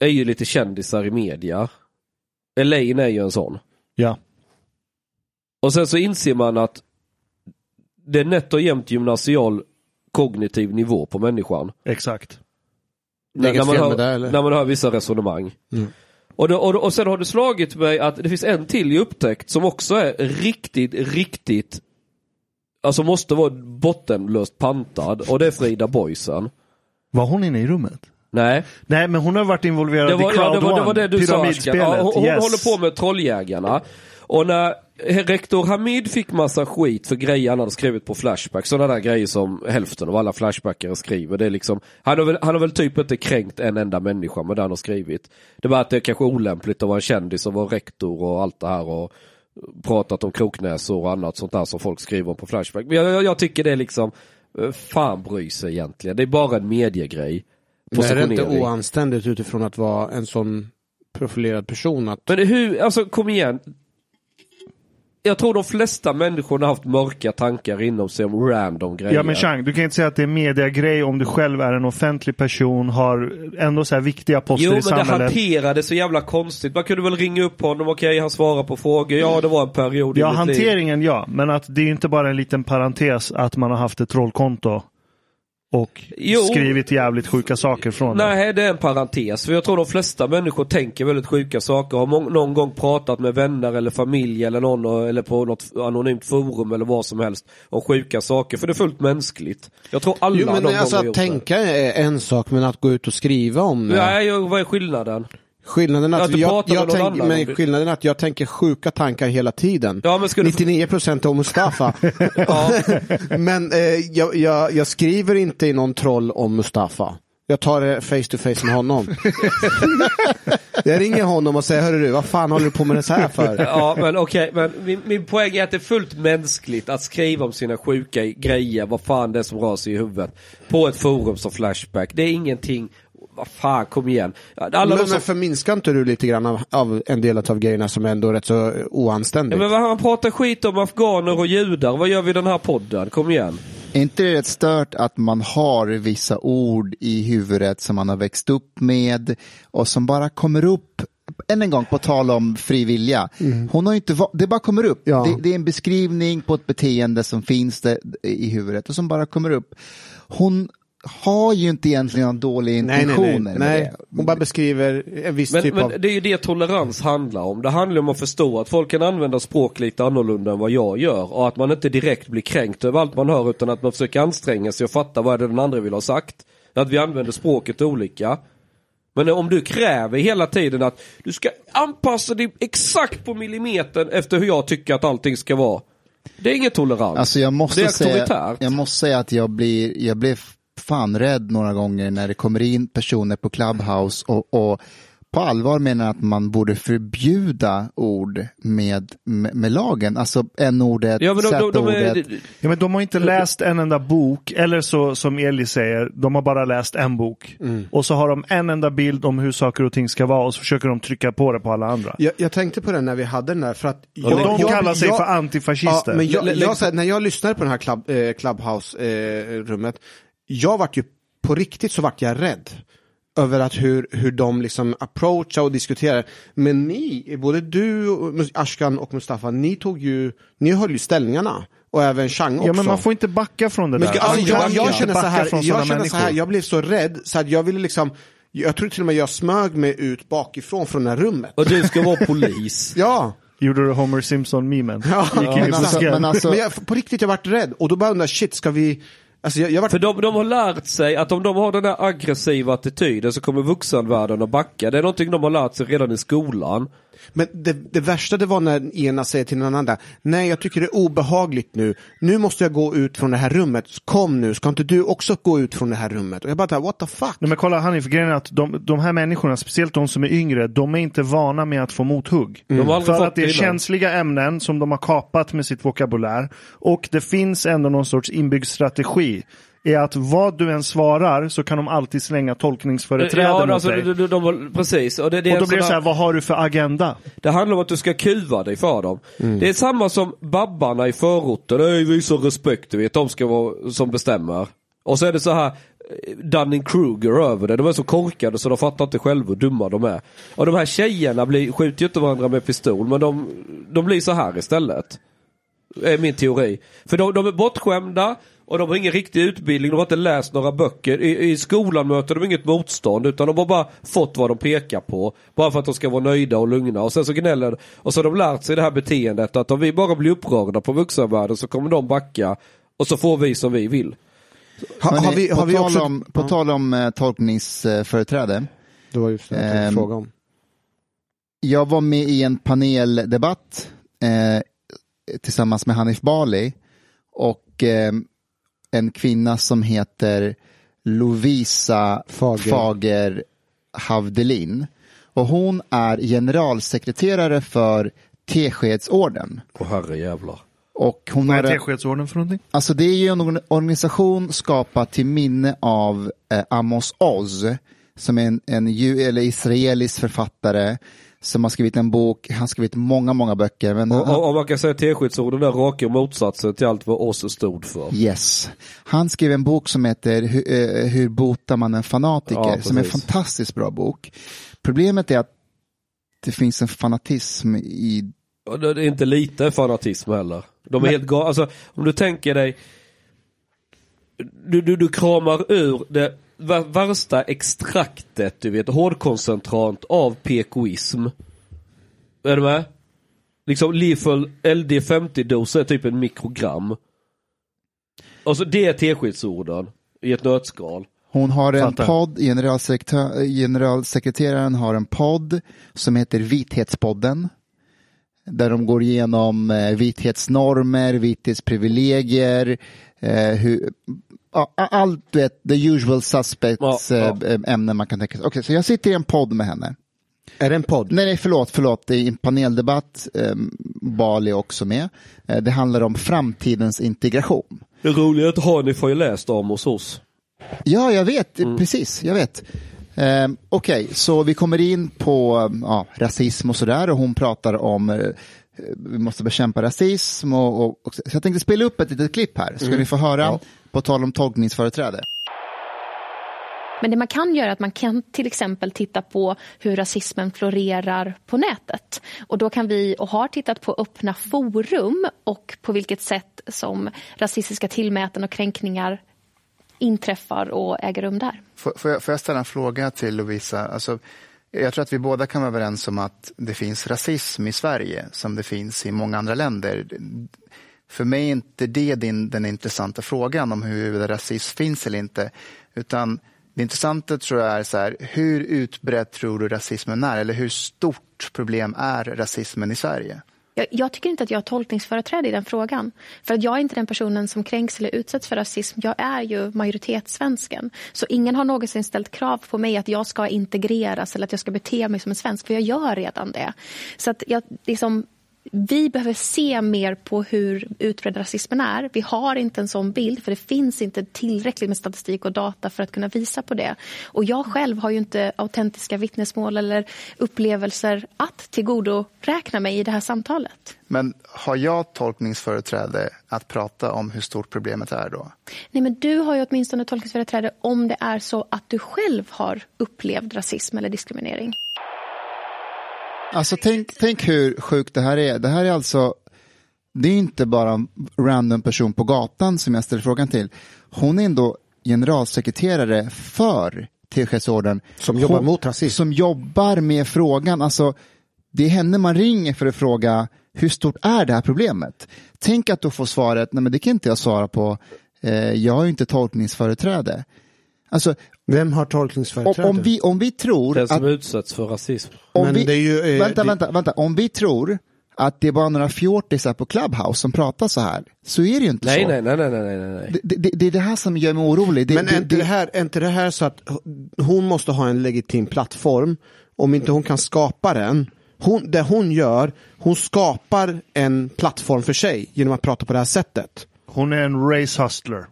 är ju lite kändisar i media. Elaine är ju en sån. Ja. Och sen så inser man att det är nätt och jämnt gymnasial kognitiv nivå på människan. Exakt. Det är När, när, inget man fel hör, med det eller? när man hör vissa resonemang. Och, då, och, då- och sen har det slagit mig att det finns en till jag upptäckt som också är riktigt, riktigt Alltså måste vara bottenlöst pantad och det är Frida Boisen. Var hon inne i rummet? Nej, Nej, men hon har varit involverad det var, i Crowd ja, det, var, det var det du sa Ashkan. pyramidspelet. Ja, hon hon yes. håller på med Trolljägarna. Och när eh, rektor Hamid fick massa skit för grejer han hade skrivit på Flashback, sådana där grejer som hälften av alla Flashbackare skriver. Det är liksom, han, har väl, han har väl typ inte kränkt en enda människa med det han har skrivit. Det var att det är kanske olämpligt att vara en kändis och vara rektor och allt det här. Och, pratat om kroknäsor och annat sånt där som folk skriver om på Flashback. Men jag, jag, jag tycker det är liksom, eh, fan bry sig egentligen. Det är bara en mediegrej. Men är det inte Positionering. oanständigt utifrån att vara en sån profilerad person? Att... Men hur, alltså kom igen. Jag tror de flesta människorna har haft mörka tankar inom sig om random grejer. Ja men Chang, du kan inte säga att det är en mediegrej om du själv är en offentlig person, har ändå så här viktiga poster Jo i men det samhället. hanterades så jävla konstigt. Man kunde väl ringa upp honom, okej han svarar på frågor, ja det var en period Ja, i mitt liv. hanteringen ja, men att det är inte bara en liten parentes att man har haft ett trollkonto och Jo. skrivit jävligt sjuka saker från det. Nej, det är en parentes. För jag tror de flesta människor tänker väldigt sjuka saker. Har mång- någon gång pratat med vänner eller familj eller någon och- eller på något anonymt forum eller vad som helst om sjuka saker. För det är fullt mänskligt. Jag tror alla Jo, men någon alltså gång har att gjort det. tänka är en sak, men att gå ut och skriva om det. Nej, jag- vad är skillnaden? Skillnaden att, Att du jag, pratar med jag någon tänk, annan. men skillnaden att jag tänker sjuka tankar hela tiden. Ja, men ska du- 99 procent om Mustafa. Ja. men eh, jag, jag, jag skriver inte i någon troll om Mustafa. Jag tar det face to face med honom. jag ringer honom och säger, hörru du, vad fan håller du på med det så här för? Ja men okej, men min, min poäng är att det är fullt mänskligt att skriva om sina sjuka grejer, vad fan det är som rör sig i huvudet. På ett forum som Flashback, det är ingenting, vad fan kom igen. Alla men, de som, men förminskar inte du lite grann av, av en del av grejerna som är ändå rätt så eh, ja, oanständigt? men vad han pratar skit om afghaner och judar, vad gör vi i den här podden? Kom igen. Är inte det rätt stört att man har vissa ord i huvudet som man har växt upp med och som bara kommer upp, än en gång på tal om fri vilja. Hon har ju inte va- det bara kommer upp. Mm. Ja. Det, det är en beskrivning på ett beteende som finns där i huvudet och som bara kommer upp. Hon har ju inte egentligen några dåliga nej, intentioner nej, nej. med nej. det. Hon bara beskriver en viss Men, typ men av... det är ju det tolerans handlar om. Det handlar om att förstå att folk kan använda språk lite annorlunda än vad jag gör. Och att man inte direkt blir kränkt över allt man hör utan att man försöker anstränga sig och fatta vad är det den andra vill ha sagt. Att vi använder språket olika. Men om du kräver hela tiden att du ska anpassa dig exakt på millimetern efter hur jag tycker att allting ska vara. Det är ingen tolerans. Alltså jag det är måste, säga, auktoritärt. jag måste säga att jag blir, jag blir fan rädd några gånger när det kommer in personer på Clubhouse och, och på allvar menar att man borde förbjuda ord med, med, med lagen. Alltså n-ordet, Ja, men de, de, de, z-ordet. är, Ja, men de har inte läst en enda bok, eller så som Eli säger, de har bara läst en bok. Mm. Och så har de en enda bild om hur saker och ting ska vara och så försöker de trycka på det på alla andra. Jag, jag tänkte på den när vi hade den där för att... Och de kallar sig för antifascister. Ja, men jag, Lä- jag, lägg- så här, när jag lyssnade på det här club, eh, Clubhouse-rummet, jag vart ju, på riktigt så vart jag rädd över att hur, hur de liksom approachar och diskuterar. Men ni, både du, och Mus- Ashkan och Mustafa, ni tog ju, ni höll ju ställningarna. Och även Chang också. Ja, men man får inte backa från det Men där. ska- alltså, Man jag, kan jag inte känner så backa här, från sådana jag känner så här, människor. jag blev så rädd så att jag ville liksom, jag tror till och med jag smög mig ut bakifrån från det här rummet. och du ska vara polis. Ja. Gjorde du Homer Simpson-memen? Ja, Gick in i men alltså- busken. men alltså- Men jag, på riktigt, jag vart rädd och då bara undrar, shit, ska vi... Alltså jag, jag vart... För de, de har lärt sig att om de har den här aggressiva attityden så kommer vuxenvärlden att backa. Det är någonting de har lärt sig redan i skolan. Men det, det värsta det var när ena säger till den andra, nej jag tycker det är obehagligt nu, nu måste jag gå ut från det här rummet, kom nu, ska inte du också gå ut från det här rummet? Och jag bara, där, what the fuck? Nej, men kolla Hanif, grejen är att de, de här människorna, speciellt de som är yngre, de är inte vana med att få mothugg. Mm. De har aldrig För fått att det är det innan. känsliga ämnen som de har kapat med sitt vokabulär. Och det finns ändå någon sorts inbyggd strategi. Är att vad du än svarar så kan de alltid slänga tolkningsföreträden ja, mot alltså, dig. de, de, de, har- precis. Och, det, det, är och då en blir det sån så här- här, vad har du för agenda? det handlar om att du ska kuva dig för dem. Mm. Det är samma som babbarna i förorten. Öj, visa respekt, du vet. De ska vara som bestämmer. Och så är det så här Dunning-Kruger över det. De är så korkade så de fattar inte själva hur dumma de är. Och de här tjejerna blir, skjuter ju inte varandra med pistol men de, de blir så här istället. Är eh, min teori. För de, de är bortskämda och de har ingen riktig utbildning, de har inte läst några böcker. I, I skolan möter de inget motstånd utan de har bara fått vad de pekar på. Bara för att de ska vara nöjda och lugna och sen så gnäller de. Och så har de lärt sig det här beteendet att om vi bara blir upprörda på vuxenvärlden så kommer de backa och så får vi som vi vill. Ha, Hörrni, har vi, på, har vi tal också... om, på tal om eh, tolkningsföreträde. Det var just det jag tänkte Ehm, fråga om. Jag var med i en paneldebatt eh, tillsammans med Hanif Bali och eh, en kvinna som heter Lovisa Fager. Fager, Havdelin. Och hon är generalsekreterare för Teskedsorden. Åh herre jävlar. Och hon Vad är har en- Teskedsorden för någonting? Alltså det är ju en organisation skapad till minne av eh, Amos Oz, som är en, en ju, eller israelisk författare som har skrivit en bok, han har skrivit många, många böcker. Men Och, han, och, och man kan säga att teskedsorden där raka motsatsen till allt vad oss stod för. yes. han skrev en bok som heter Hur, eh, Hur botar man en Ja, fanatiker, precis. som är en fantastiskt bra bok. Problemet är att det finns en fanatism i Och det det är inte lite fanatism heller. De är helt galna. Alltså, om du tänker dig. Du, du, du kramar ur det vär- värsta extraktet, du vet, hårdkoncentrat av PKism. Är du med? Liksom Lifel LD50-doser är typ en mikrogram. Alltså det är teskedsorden i ett nötskal. Hon har en Fattar. podd, generalsekreter- generalsekreteraren har en podd som heter Vithetspodden. Där de går igenom eh, vithetsnormer, vithetsprivilegier, eh, hur, ja, a- allt du vet, the usual suspects Ja, eh, ja. eh, ämnen man kan tänka sig. Okej, så jag sitter i en podd med henne. Är det en podd? Nej, nej, förlåt, förlåt, det är en paneldebatt, eh, Bali är också med. Eh, det handlar om framtidens integration. Det roliga är att Hanif har ju läst om hos oss. Ja, jag vet, precis, jag vet. Ehm, Okej, så vi kommer in på ja, rasism och sådär och hon pratar om eh, vi måste bekämpa rasism och, och, och så jag tänkte spela upp ett litet klipp här, ska ni få höra, på tal om tolkningsföreträde. Men det man kan göra är att man kan till exempel titta på hur rasismen florerar på nätet. Och då kan vi, och har tittat på öppna forum och på vilket sätt som rasistiska tillmäten och kränkningar inträffar och äger rum där. Får, får, jag, får jag ställa en fråga till Lovisa? Alltså, jag tror att vi båda kan vara överens om att det finns rasism i Sverige som det finns i många andra länder. För mig är inte det din, den intressanta frågan om huruvida rasism finns eller inte. Utan det intressanta tror jag är så här, hur utbredd tror du rasismen är? Eller hur stort problem är rasismen i Sverige? Jag, jag tycker inte att jag har tolkningsföreträde i den frågan. För att jag är inte den personen som kränks eller utsätts för rasism. Jag är ju majoritetssvensken. Så ingen har någonsin ställt krav på mig att jag ska integreras eller att jag ska bete mig som en svensk. För jag gör redan det. Så att jag, liksom, vi behöver se mer på hur utbredd rasismen är. Vi har inte en sån bild, för det finns inte tillräckligt med statistik och data för att kunna visa på det. Och jag själv har ju inte autentiska vittnesmål eller upplevelser att tillgodoräkna mig i det här samtalet. Men har jag tolkningsföreträde att prata om hur stort problemet är då? Nej, men du har ju åtminstone tolkningsföreträde om det är så att du själv har upplevt rasism eller diskriminering. Alltså tänk, tänk hur sjukt det här är, det här är alltså, det är inte bara en random person på gatan som jag ställer frågan till, hon är ändå generalsekreterare för Teskedsorden. Som jobbar Hon- mot rasism. som jobbar med frågan, alltså det är henne man ringer för att fråga hur stort är det här problemet? Tänk att du får svaret, nej men det kan inte jag svara på, eh, jag har ju inte tolkningsföreträde. Alltså Vem har om, tolkningsföreträde? om, vi, om vi tror Den att... som utsätts för rasism. Om Men vi, det är ju, eh, vänta, det- vänta, vänta, om vi tror att det är bara några fjortisar på Clubhouse som pratar så här, så är det ju inte Nej, så. nej, nej, nej, nej, nej, nej. Det, det, det är det här som gör mig orolig. Det, Men det, är inte det, här, är inte det här så att hon måste ha en legitim plattform? Om inte hon kan skapa den. Hon, det hon gör, hon skapar en plattform för sig genom att prata på det här sättet. Hon är en race hustler.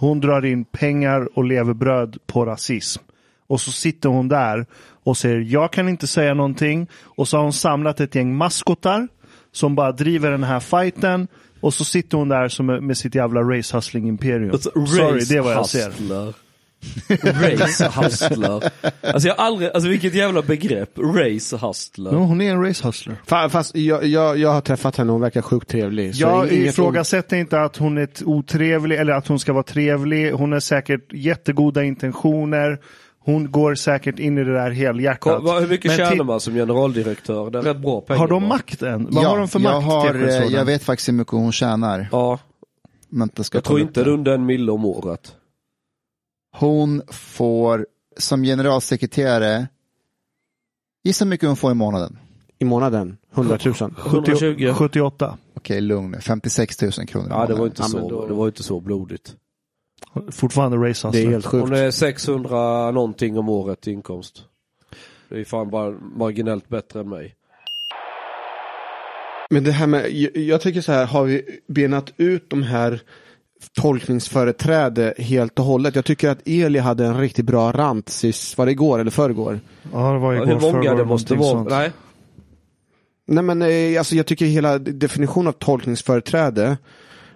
Hon drar in pengar och levebröd på rasism. Och så sitter hon där och säger jag kan inte säga någonting. Och så har hon samlat ett gäng maskotar som bara driver den här fighten Och så sitter hon där som med sitt jävla race hustling imperium. Alltså, Sorry, det är vad jag ser. hustler. Race hustler. Alltså jag har aldrig, alltså vilket jävla begrepp. Race hustler. Ja, hon är en race hustler. Fa- Fast jag, jag, jag har träffat henne, hon verkar sjukt trevlig. Så Jag inget- ifrågasätter inte att hon är ett otrevlig eller att hon ska vara trevlig. Hon har säkert jättegoda intentioner. Hon går säkert in i det där Ko- helhjärtat. vad- hur mycket Men tjänar ti- man som generaldirektör? Det är rätt bra pengar. Har de va? makt än? Vad har de för jag makt? Har, eh, Tepelsonen? jag vet faktiskt hur mycket hon tjänar. Ja, Vänta, ska jag tror kolla upp inte det är under en mille om året. Hon får som generalsekreterare, gissa hur mycket hon får i månaden. I månaden, 100 000. 120. 78. Okej, lugn nu. 56 000 kronor i Ja, det månaden. var inte Ja, så, men då- det var inte så blodigt. Fortfarande race alltså. Det är hustler. helt sjukt. Hon är 600 någonting om året i inkomst. Det är fan bara marginellt bättre än mig. Men det här med, jag, jag tycker så här, har vi benat ut de här tolkningsföreträde helt och hållet? Jag tycker att Eli hade en riktigt bra rant sist, var det igår eller förrgår? Ja, det var igår, Hur många förrgår, det måste någonting vara. sånt. Nej, Nej men eh, alltså jag tycker hela definitionen av tolkningsföreträde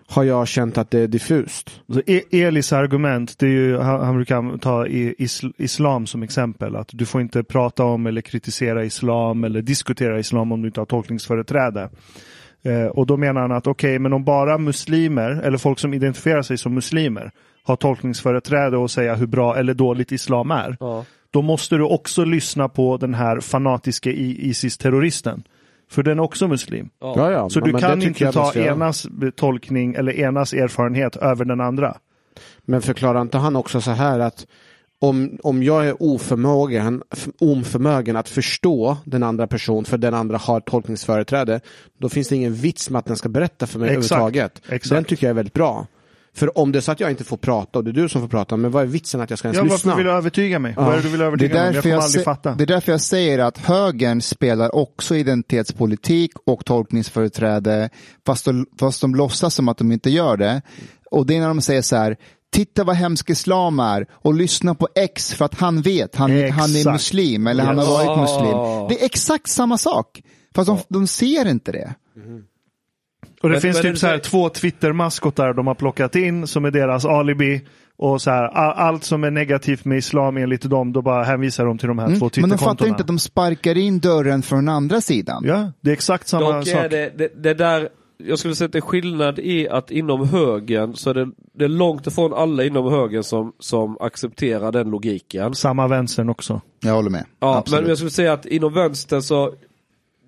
har jag känt att det är diffust. Så E- Elis argument, det är ju, han, han brukar ta i, isl, islam som exempel. Att du får inte prata om eller kritisera islam eller diskutera islam om du inte har tolkningsföreträde. Eh, och då menar han att okej, men om bara muslimer eller folk som identifierar sig som muslimer har tolkningsföreträde och säga hur bra eller dåligt islam är. Ja. Då måste du också lyssna på den här fanatiske I- Isis-terroristen. För den är också muslim. Ja, ja, Så du men kan det tycker inte jag ta måste göra. enas tolkning eller enas erfarenhet över den andra. Men förklarar inte han också så här att om, om jag är oförmögen, f- oförmögen att förstå den andra personen för den andra har tolkningsföreträde, då finns det ingen vits med att den ska berätta för mig Exakt, överhuvudtaget. exakt. Den tycker jag är väldigt bra. För om det är så att jag inte får prata och det är du som får prata, men vad är vitsen att jag ska ens Ja, lyssna? varför vill du övertyga mig? Vad är det du vill Alltså, Det övertyga är, mig om? Jag därför kommer jag aldrig se- fatta. det är därför jag säger att högern spelar också identitetspolitik och tolkningsföreträde fast de, fast de låtsas som att de inte gör det. Och det är när de säger så här, titta vad hemsk islam är och lyssna på X för att han vet, han, han är Exakt. muslim eller han har Yes. varit Ah. muslim. Det är exakt samma sak, fast de, de ser inte det. Och det Men- finns men typ det- så här två Twitter-maskotar de har plockat in som är deras alibi. Och så här, a- allt som är negativt med islam enligt dem, då bara hänvisar de till de här två Mm. Men de fattar Twitter-kontona. inte att de sparkar in dörren från andra sidan. Ja, det är exakt samma dock är sak. det, det, det där, jag skulle säga att det är skillnad i att inom högen så är det, det är långt ifrån alla inom högen som, som accepterar den logiken. Samma vänstern också. Jag håller med. Ja, Absolut. men jag skulle säga att inom vänstern så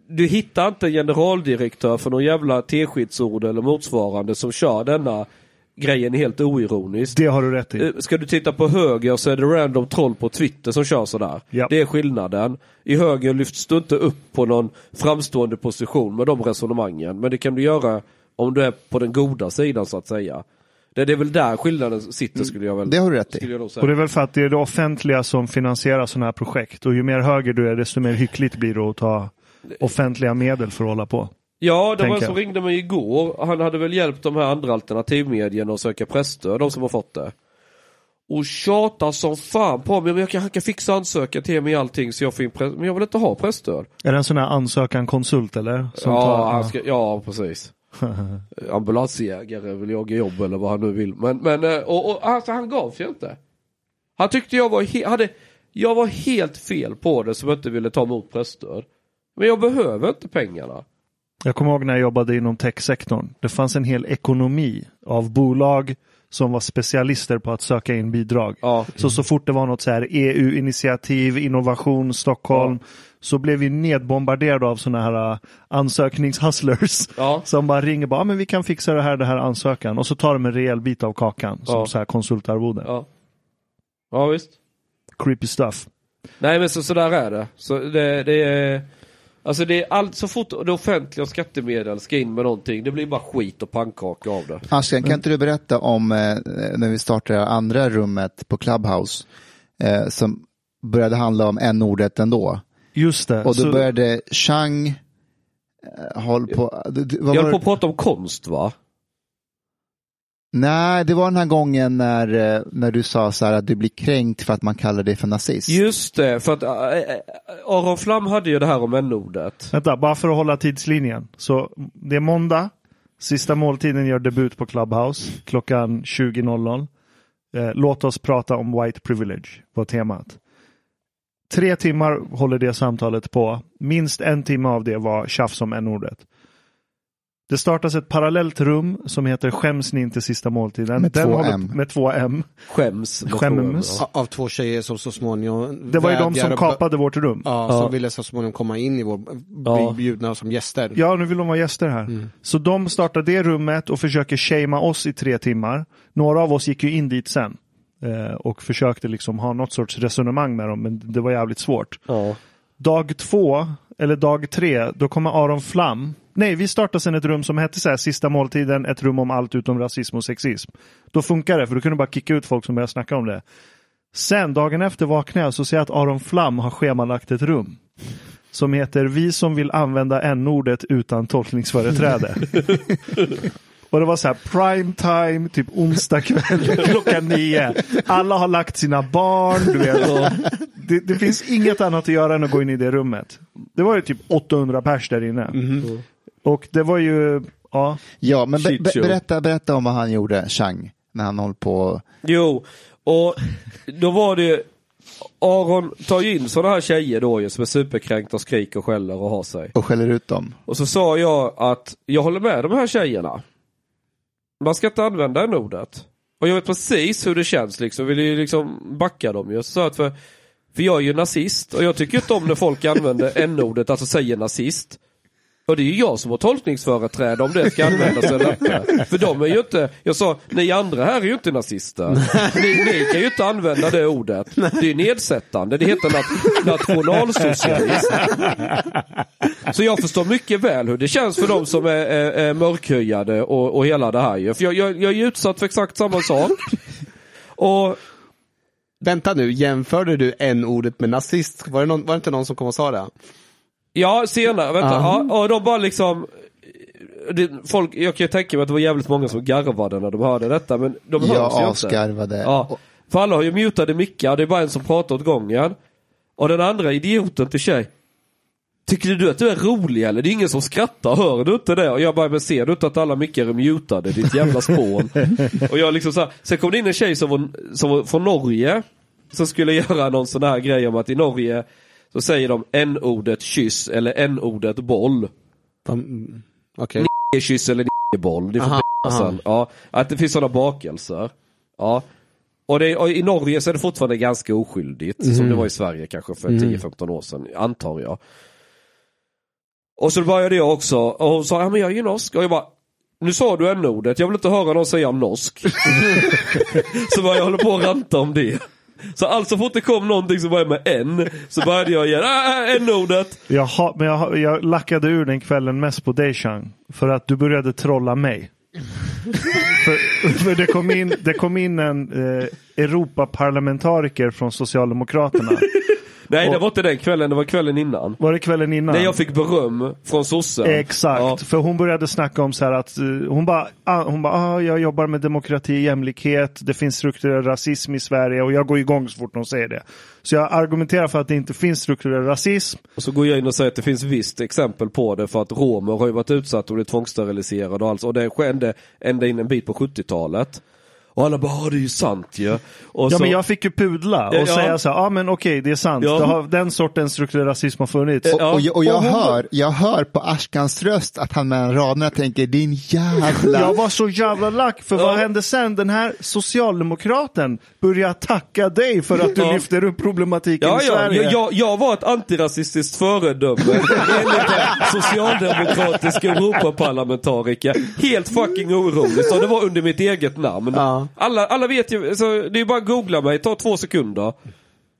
du hittar inte en generaldirektör för någon jävla teskedsord eller motsvarande som kör denna grejen helt oironiskt. Det har du rätt i. Eh, Ska du titta på höger så är det random troll på Twitter som kör sådär. Ja. Det är skillnaden. I höger lyfts du inte upp på någon framstående position med de resonemangen. Men det kan du göra om du är på den goda sidan så att säga. Det det är väl där skillnaden sitter skulle jag väl Det har du rätt i. skulle jag då säga. Och Mm. det är väl för att det är det offentliga som finansierar sådana här projekt. Och ju mer höger du är, desto mer hyckligt blir det att ta offentliga medel för att hålla på. Ja, det var en tänker som jag. ringde mig igår. Han hade väl hjälpt de här andra alternativmedierna att söka pressstöd, de som har fått det. Och tjatar som fan på mig. Men jag kan, han kan fixa ansökan till mig allting så jag får in press... Men jag vill inte ha pressstöd. Är det en sån här ansökan-konsult eller? Som ja, tar- han ska, ja, precis. Ambulansjägare vill jaga jobb eller vad han nu vill. Men, men eh, och, och, alltså, han gav sig inte. Han tyckte jag var, he- hade, jag var helt fel på det som inte ville ta emot pressstöd. Men jag behöver inte pengarna. Jag kommer ihåg när jag jobbade inom techsektorn. Det fanns en hel ekonomi av bolag som var specialister på att söka in bidrag. Ja. Så så fort det var något så här EU-initiativ, innovation, Stockholm, så blev vi nedbombarderade av sådana här äh, ansökningshustlers. Ja. Som bara ringer bara, "Ah, men vi kan fixa det här, det här ansökan. Och så tar de en rejäl bit av kakan som Ja. så här konsultarvode. Ja, ja visst. Creepy stuff. Nej men så, så där är det. Så det, det är, alltså det är allt, så fort det offentliga och skattemedel ska in med någonting, det blir bara skit och pannkaka av det. Ashkan, kan inte du berätta om eh, när vi startade andra rummet på Clubhouse eh, som började handla om en ordet ändå. Just det. Och då Så- började Chang eh, håll på... d- d- Vad Jag var höll på det? att prata om konst va? Nej, det var den här gången när, eh, när du sa så här att du blir kränkt för att man kallar dig för nazist. Just det, för att äh, äh, Aron Flam hade ju det här om n-ordet. Vänta, bara för att hålla tidslinjen. Så det är måndag. Sista måltiden gör debut på Clubhouse klockan 20.00. Eh, Låt oss prata om white privilege var temat. Tre timmar håller det samtalet på. Minst en timme av det var tjafs om n-ordet. Det startas ett parallellt rum som heter Skäms ni inte sista måltiden? Med två håller- M. Med två M. Skäms. Skäms. A- Av två tjejer som så småningom Det var ju de vädjar som och bö- kapade vårt rum. Ja, som ville så småningom komma in i vår, Ja. bli bjudna som gäster. Ja, nu vill de vara gäster här. Så de startar det rummet och försöker shamea oss i tre timmar. Några av oss gick ju in dit sen eh, och försökte liksom ha något sorts resonemang med dem, men det var jävligt svårt. Ja. Dag två, eller dag tre, då kommer Aron Flam. Nej, vi startade sen ett rum som hette så här, sista måltiden, ett rum om allt utom rasism och sexism. Då funkar det, för då kunde du bara kicka ut folk som började snacka om det. Sen, dagen efter vaknar jag så ser jag att Aron Flam har schemalagt ett rum. Som heter Vi som vill använda n-ordet utan tolkningsföreträde. Och det var så här prime time, typ onsdag kväll klockan nio. Alla har lagt sina barn, du vet. Och Det, det finns inget annat att göra än att gå in i det rummet. Det var ju typ 800 pers där inne. Och det var ju, ja, Ja, men be, Shit be, show. berätta, berätta om vad han gjorde, Chang, när han håller på. Jo, och då var det Aron tar ju in sådana här tjejer då ju som är superkränkta och skriker och skäller och har sig. och skäller ut dem. Och så sa jag att jag håller med de här tjejerna. Man ska inte använda det ordet. Och jag vet precis hur det känns liksom. Vill ju liksom backa dem ju. Så sa jag att för, för jag är ju nazist och jag tycker inte om när folk använder n-ordet, alltså säger nazist. Och det är ju jag som har tolkningsföreträde om det ska användas eller inte. För de är ju inte, jag sa, ni andra här är ju inte nazister. Ni, ni kan ju inte använda det ordet. Det är nedsättande, det heter nat- nationalsocialism. Så jag förstår mycket väl hur det känns för de som är, är, är mörkhyade och, och hela det här ju. För jag, jag, jag är ju utsatt för exakt samma sak. Och Vänta nu, jämförde du en ordet med nazist? Var det, någon, var det inte någon som kom och sa det? ja, senare, vänta. Aha. Ja, och de bara liksom... Det, folk, jag kan ju tänka mig att det var jävligt många som garvade när de hörde detta men de Jag hörs ju inte. avskarvade. Ja, för alla har ju mutade mickar, det är bara en som pratar åt gången. Och den andra idioten till tjej. Tycker du att du är rolig eller? Det är ingen som skrattar, hör du inte det? Och jag bara, men ser du inte att alla mickar är mutade? Ditt jävla spån. och jag liksom så här, sen kom det in en tjej som var, som var från Norge. Som skulle göra någon sån här grej om att i Norge så säger de n-ordet kyss eller n-ordet boll. Mm, Okej. Kyss eller boll. Det får Aha, och aha. sen, ja, att det finns sådana bakelser. Ja. Och, det, och i Norge så är det fortfarande ganska oskyldigt, Mm. som det var i Sverige kanske för 10-15 år sedan, antar jag. Och så började jag också, och hon sa, ja men jag är ju norsk. Och jag bara, nu sa du n-ordet, jag vill inte höra någon säga norsk. så började jag hålla på och ranta om det. Så allt så fort det kom någonting som började med n, så började jag igen, "Ah, ah, n-ordet. jag, ha, men jag, ha- jag lackade ur den kvällen mest på dig Chang. För att du började trolla mig. för, för det kom in, det kom in en eh, Europaparlamentariker från Socialdemokraterna. Nej det Och- var inte den kvällen, det var kvällen innan. Var det kvällen innan? När jag fick beröm från sossen. Exakt, Ja. för hon började snacka om så här att eh, hon bara, ah, hon bara ah, jag jobbar med demokrati, jämlikhet, det finns strukturell rasism i Sverige och jag går igång så fort hon säger det. Så jag argumenterar för att det inte finns strukturell rasism. Och så går jag in och säger att det finns visst exempel på det för att romer har ju varit utsatta och blivit tvångssteriliserade och allt. Och det skedde ända in en bit på 70-talet. Och alla bara, "Ah, det är ju sant ju. Och Ja så, men jag fick ju pudla och Ja. säga så här, ja ah, men okej det är sant, Ja. Eh, det har, den sortens strukturell rasism har funnits. Ja. Och jag, och jag, Och hon- hör, jag hör på Ashkans röst att han mellan raderna tänker din jävla... Jag var så jävla lack för vad hände sen? Den här socialdemokraten börjar tacka dig för att du Ja. lyfter upp problematiken Ja, i ja, Sverige. jag, jag, jag var ett antirasistiskt föredöme enligt en socialdemokratisk Europaparlamentariker. Helt fucking orolig. Så det var under mitt eget namn. Ja. Alla, alla vet ju, så det är bara att googla mig, ta två sekunder.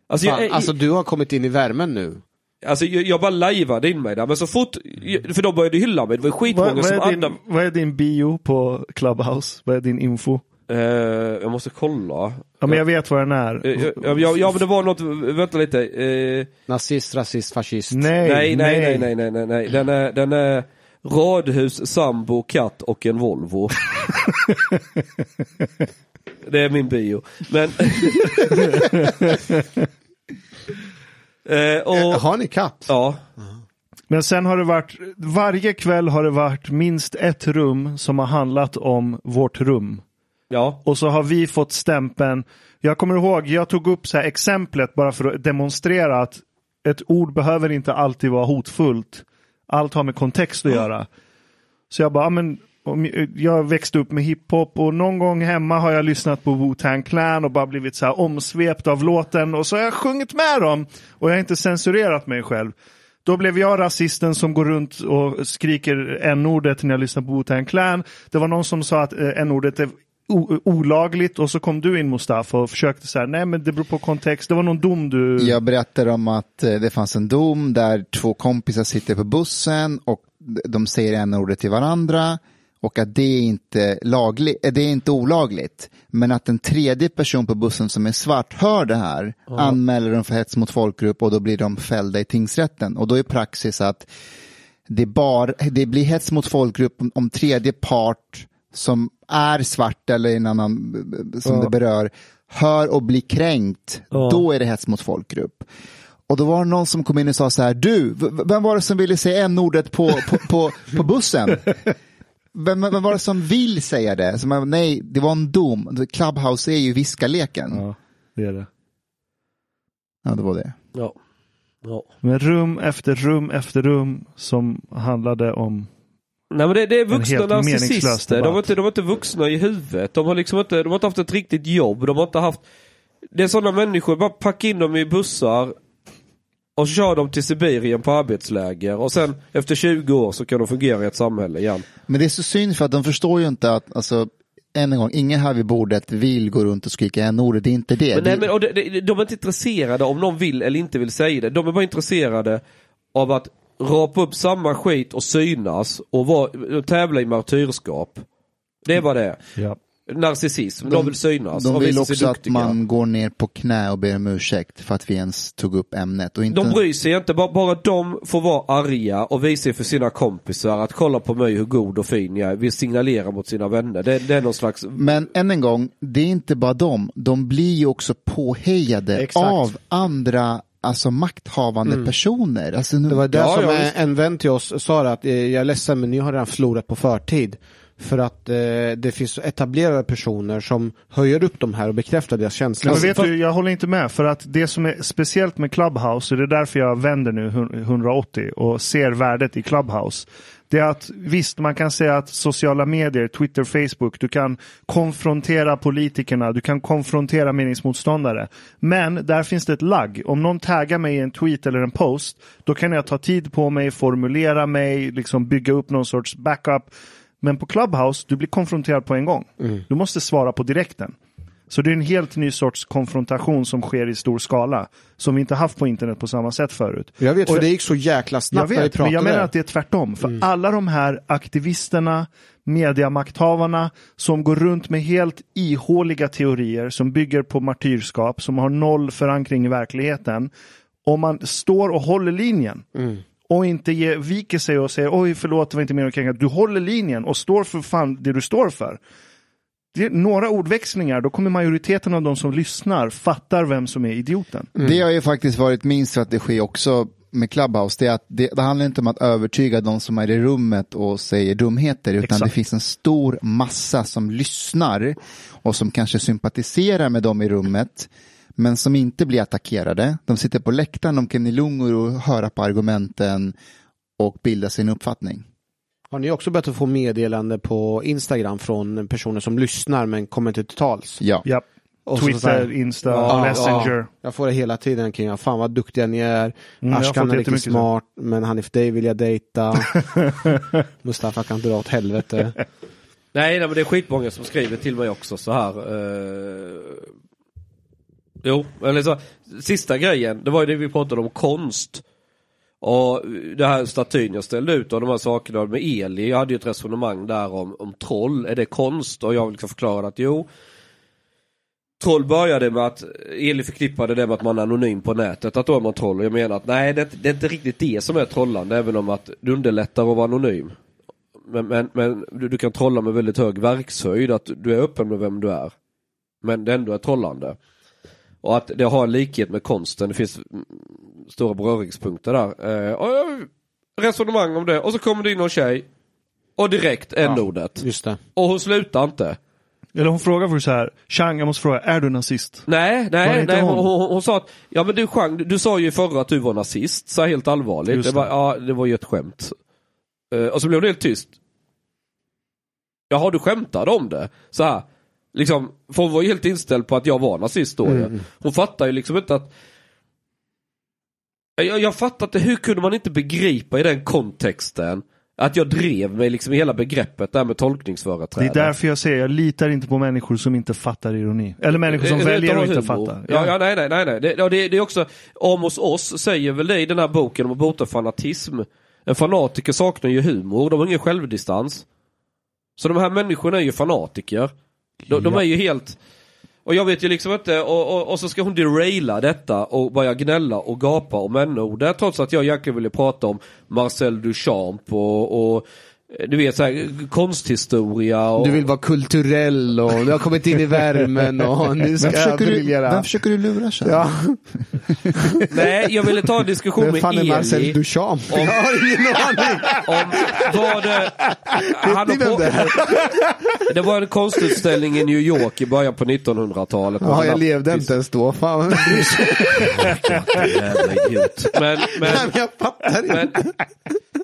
Alltså, jag Fan, är- alltså du har kommit in i värmen nu. Alltså jag, jag bara lajvade in mig där, men så fort, för de började hylla mig, det var skitmånga Vad, vad, som är andra... din, vad är din bio på Clubhouse? Vad är din info? Eh, jag måste kolla. Ja, men jag vet vad den är. Eh, eh, ja, ja, ja men det var något, vänta lite. Eh, Nazist, rasist, fascist. Nej, nej, nej, nej, nej, nej, nej, nej. Den är, den är radhus, sambo, katt och en Volvo. det är min bio. Men... eh, och, Eh, Har ni katt? Eh, ja. Men sen har det varit, varje kväll har det varit minst ett rum som har handlat om vårt rum. Ja. Och så har vi fått stämpeln. Jag kommer ihåg, jag tog upp så här exemplet bara för att demonstrera att ett ord behöver inte alltid vara hotfullt. Allt har med kontext att göra. Så jag bara, "Ah, men om jag- jag växte upp med hiphop och någon gång hemma har jag lyssnat på Wu-Tang Clan och bara blivit så här omsvept av låten och så har jag sjungit med dem och jag har inte censurerat mig själv. Då blev jag rasisten som går runt och skriker n-ordet när jag lyssnar på Wu-Tang Clan. Det var någon som sa att eh, n-ordet är o- olagligt och så kom du in Mustafa och försökte så här, nej men det beror på kontext, det var någon dom du... Jag berättar om att eh, det fanns en dom där två kompisar sitter på bussen och de säger en ordet till varandra och att det är inte lagligt, eh, det är inte olagligt. Men att en tredje person på bussen som är svart hör det här, anmäler dem för hets mot folkgrupp och då blir de fällda i tingsrätten. Och då är praxis att det, bar, det blir hets mot folkgrupp om- om tredje part som är svart eller en annan eh, som det berör hör och blir kränkt, då är det hets mot folkgrupp. Och då var det någon som kom in och sa så här, du, v- v- vem var det som ville säga n-ordet på, på, på, på bussen? Vem, vem var det som vill säga det? Så man, nej, det var en dom. Clubhouse är ju viskaleken. Ja, Ja, det är det. det var det. Ja. ja. Men rum efter rum efter rum som handlade om... Nej men det, det är vuxna helt meningslös narcissister. De debatt. var, inte, de var inte vuxna i huvudet. De har liksom inte, de har inte haft ett riktigt jobb. De har inte haft... Det är sådana människor, bara packa in dem i bussar och kör dem till Sibirien på arbetsläger. Och sen efter 20 år så kan de fungera i ett samhälle igen. Men det är så synd för att de förstår ju inte att, alltså, än en gång, ingen här vid bordet vill gå runt och skrika n-ordet, det är inte det. Men, det nej, men, och de, de, de är inte intresserade om någon vill eller inte vill säga det. De är bara intresserade av att rapa upp samma skit och synas och, vara, och tävla i martyrskap. Det är vad det är. Ja. Narcissism. De, De- vill synas. De och vill visa sig också att duktiga. man går ner på knä och ber om ursäkt för att vi ens tog upp ämnet. Och inte... De bryr sig inte, bara, bara de får vara arga och visa för sina kompisar att kolla på mig hur god och fin jag är. Vill signalera mot sina vänner. Det, det är någon slags... Men än en gång, det är inte bara de. De blir ju också påhejade Exakt. av andra alltså, makthavande personer. Alltså, nu... Det var det Mm. Ja, som ja, en- visst. en vän till oss sa det att eh, jag är ledsen men ni har redan förlorat på förtid. För att eh, det finns så etablerade personer som höjer upp de här och bekräftar deras känslor. Men vet du, jag håller inte med. För att det som är speciellt med Clubhouse, och det är därför jag vänder nu hun- 180 och ser värdet i Clubhouse. Det är att visst, man kan säga att sociala medier, Twitter, Facebook, du kan konfrontera politikerna, du kan konfrontera meningsmotståndare. Men där finns det ett lagg. Om någon taggar mig i en tweet eller en post, då kan jag ta tid på mig, formulera mig, liksom bygga upp någon sorts backup. Men på Clubhouse, du blir konfronterad på en gång. Du måste svara på direkten. Så det är en helt ny sorts konfrontation som sker i stor skala. Som vi inte haft på internet på samma sätt förut. Jag vet, Och för det gick så jäkla jag snabbt när vi vet, men pratade. jag menar att det är tvärtom. För alla de här aktivisterna, mediamakthavarna som går runt med helt ihåliga teorier som bygger på martyrskap, som har noll förankring i verkligheten. Om man står och håller linjen och inte ge, viker sig och säger oj förlåt det var inte meningen att kränka. Du håller linjen och står för fan det du står för. Det är några ordväxlingar, då kommer majoriteten av de som lyssnar fattar vem som är idioten. Det har ju faktiskt varit min strategi också med Clubhouse. Det, är att det, det handlar inte om att övertyga de som är i rummet och säger dumheter, utan Exakt. det finns en stor massa som lyssnar och som kanske sympatiserar med dem i rummet, men som inte blir attackerade. De sitter på läktaren, de kan i lugn och ro höra på argumenten och bilda sin uppfattning. Har ni också börjat att få meddelande på Instagram från personer som lyssnar men kommer inte till tals? Ja. Ja. Och så så Twitter, här- Insta, Ja, Messenger. ja. jag får det hela tiden kring, ja, fan vad duktiga ni är, Mm, jag har fått Ashkan är riktigt jättemycket så. smart, men Hanif dig vill jag dejta, Mustafa kan dra åt helvete. Nej, nej men det är skitmånga som skriver till mig också så här. Eh... Jo, eller så, sista grejen, det var ju det vi pratade om konst. Och det här statyn jag ställde ut och de här sakerna med Eli, jag hade ju ett resonemang där om, om troll, är det konst? Och jag liksom förklarade att jo, Troll började med att Eli förknippade det med att man är anonym på nätet, att då är man troll. Och jag menar att nej, det är inte, det är inte riktigt det som är trollande, även om att det underlättar att vara anonym. Men, men, men du, du kan trolla med väldigt hög verkshöjd, att du är öppen med vem du är. Men det ändå är trollande. Och att det har en likhet med konsten, det finns mm, stora beröringspunkter där. Eh, och jag resonemang om det och så kommer det in någon tjej och direkt n-ordet. Just det. Och hon slutar inte. Eller hon frågar först så här, Chang jag måste fråga, är du nazist? Nej, Var det nej, inte nej. Hon, hon? hon, hon, sa att, ja men du Chang, du, du sa ju förra att du var nazist, så här helt allvarligt. Just Det. Bara, ja, det var ju ett skämt. Eh, och så blev det helt tyst. Jaha, du skämtade om det? Så här. Liksom, för hon var ju helt inställd på att jag var nazist då Mm. ju. Hon fattar ju liksom inte att jag, jag fattar inte, hur kunde man inte begripa i den kontexten att jag drev mig liksom i hela begreppet där med Det tolkningsföreträde. är därför jag säger, jag litar inte på människor som inte fattar ironi. Eller människor som Eh, väljer utan att inte humor. fatta. Ja, ja, nej, nej, nej. nej. Det, ja, det, det är också, om hos oss säger väl det i den här boken om att bota fanatism. En fanatiker saknar ju humor, de har ingen självdistans. Så de här människorna är ju fanatiker. De, de är ju helt... Och jag vet ju liksom inte, och, och, och så ska hon deraila detta och börja gnälla och gapa om n-ordet trots att jag egentligen ville prata om Marcel Duchamp och, och eh, du vet så här, konsthistoria och... Du vill vara kulturell och du har kommit in i värmen och nu Vem ska jag försöker, du, briljera. vem försöker du lura sen? Ja, Nej, jag ville ta en diskussion vem med fan är Eli. Marcel Duchamp? Om- Jag har ingen aning. om vad det... Han Vet ni vem det har på, är? det var en konstutställning i New York i början på 1900-talet. Ja, jag levde inte ens då. Fan. Jävla idiot. Men, men, jag fattar inte. men,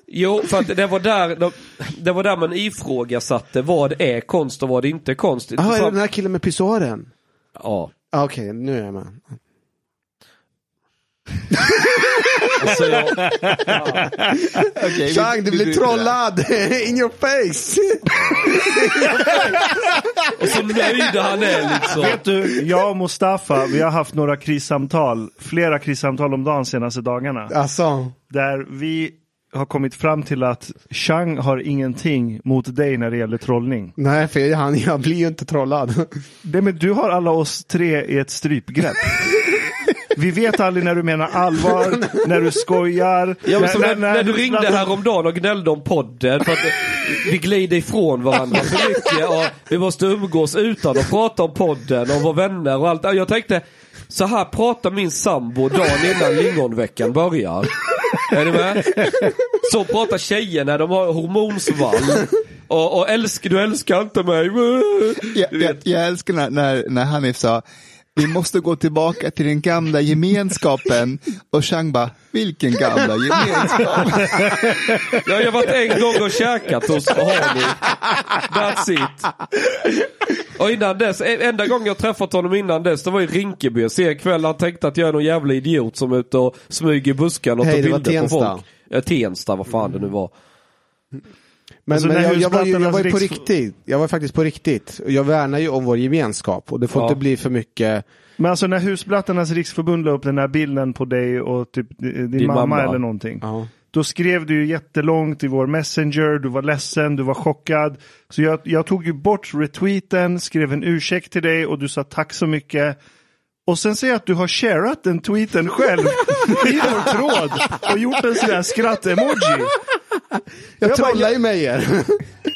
jo, för att det var där, de- det var där man ifrågasatte vad är konst och vad är inte konst. Ah, är det Fram- den här killen med pissoaren? ja. Ah, Okej, nu är jag med. Alltså, jag, Chang, du blir trollad! In your face! och så nöjd han är liksom. Vet du, jag och Mustafa, vi har haft några krissamtal, flera krissamtal om dagen senaste dagarna. Alltså, Där vi har kommit fram till att Chang har ingenting mot dig när det gäller trollning. nej för han, jag blir ju inte trollad. Det men du har alla oss tre i ett strypgrepp. Vi vet aldrig när du menar allvar, när du skojar. Ja, men som när, när- när du ringde när- häromdagen och gnällde om podden för att vi glider ifrån varandra för mycket och vi måste umgås utan att prata om podden och vara vänner och allt. Jag tänkte, så här pratar min sambo dagen innan lingonveckan börjar. Är ni med? Så pratar tjejer när de har hormonsvall. Och, och älskar, du älskar inte mig. jag, Du vet. jag, jag älskar när, när, när Hanif sa vi måste gå tillbaka till den gamla gemenskapen och Chang bara, vilken gamla gemenskap? Jag har ju varit en gång och käkat hos Harley. That's it. Och innan dess, en- enda gången jag träffat honom innan dess, det var i Rinkeby. Sen kväll han tänkte att jag är någon jävla idiot som är ute och smyger i buskarna och Hej, tar det var bilder på Tensta. folk. Ja, Tensta, vad fan det nu var. Men, Alltså, liksom- men jag, när jag, var ju, jag husplattornas var ju på riks- riktigt. Jag var faktiskt på riktigt. Och Jag värnar ju om vår gemenskap och det får Ja. inte bli för mycket. Men alltså när Husblattarnas riksförbund la upp den här bilden på dig och typ din, din mamma, mamma. eller någonting. Då skrev du ju jättelångt i vår messenger, du var ledsen, du var chockad. Så jag, jag tog ju bort retweeten, skrev en ursäkt till dig och du sa tack så mycket. Och sen säger jag att du har sharat den tweeten själv i vår tråd och gjort en sån här skratt-emoji. Jag, Jag bara, trollar ju med er.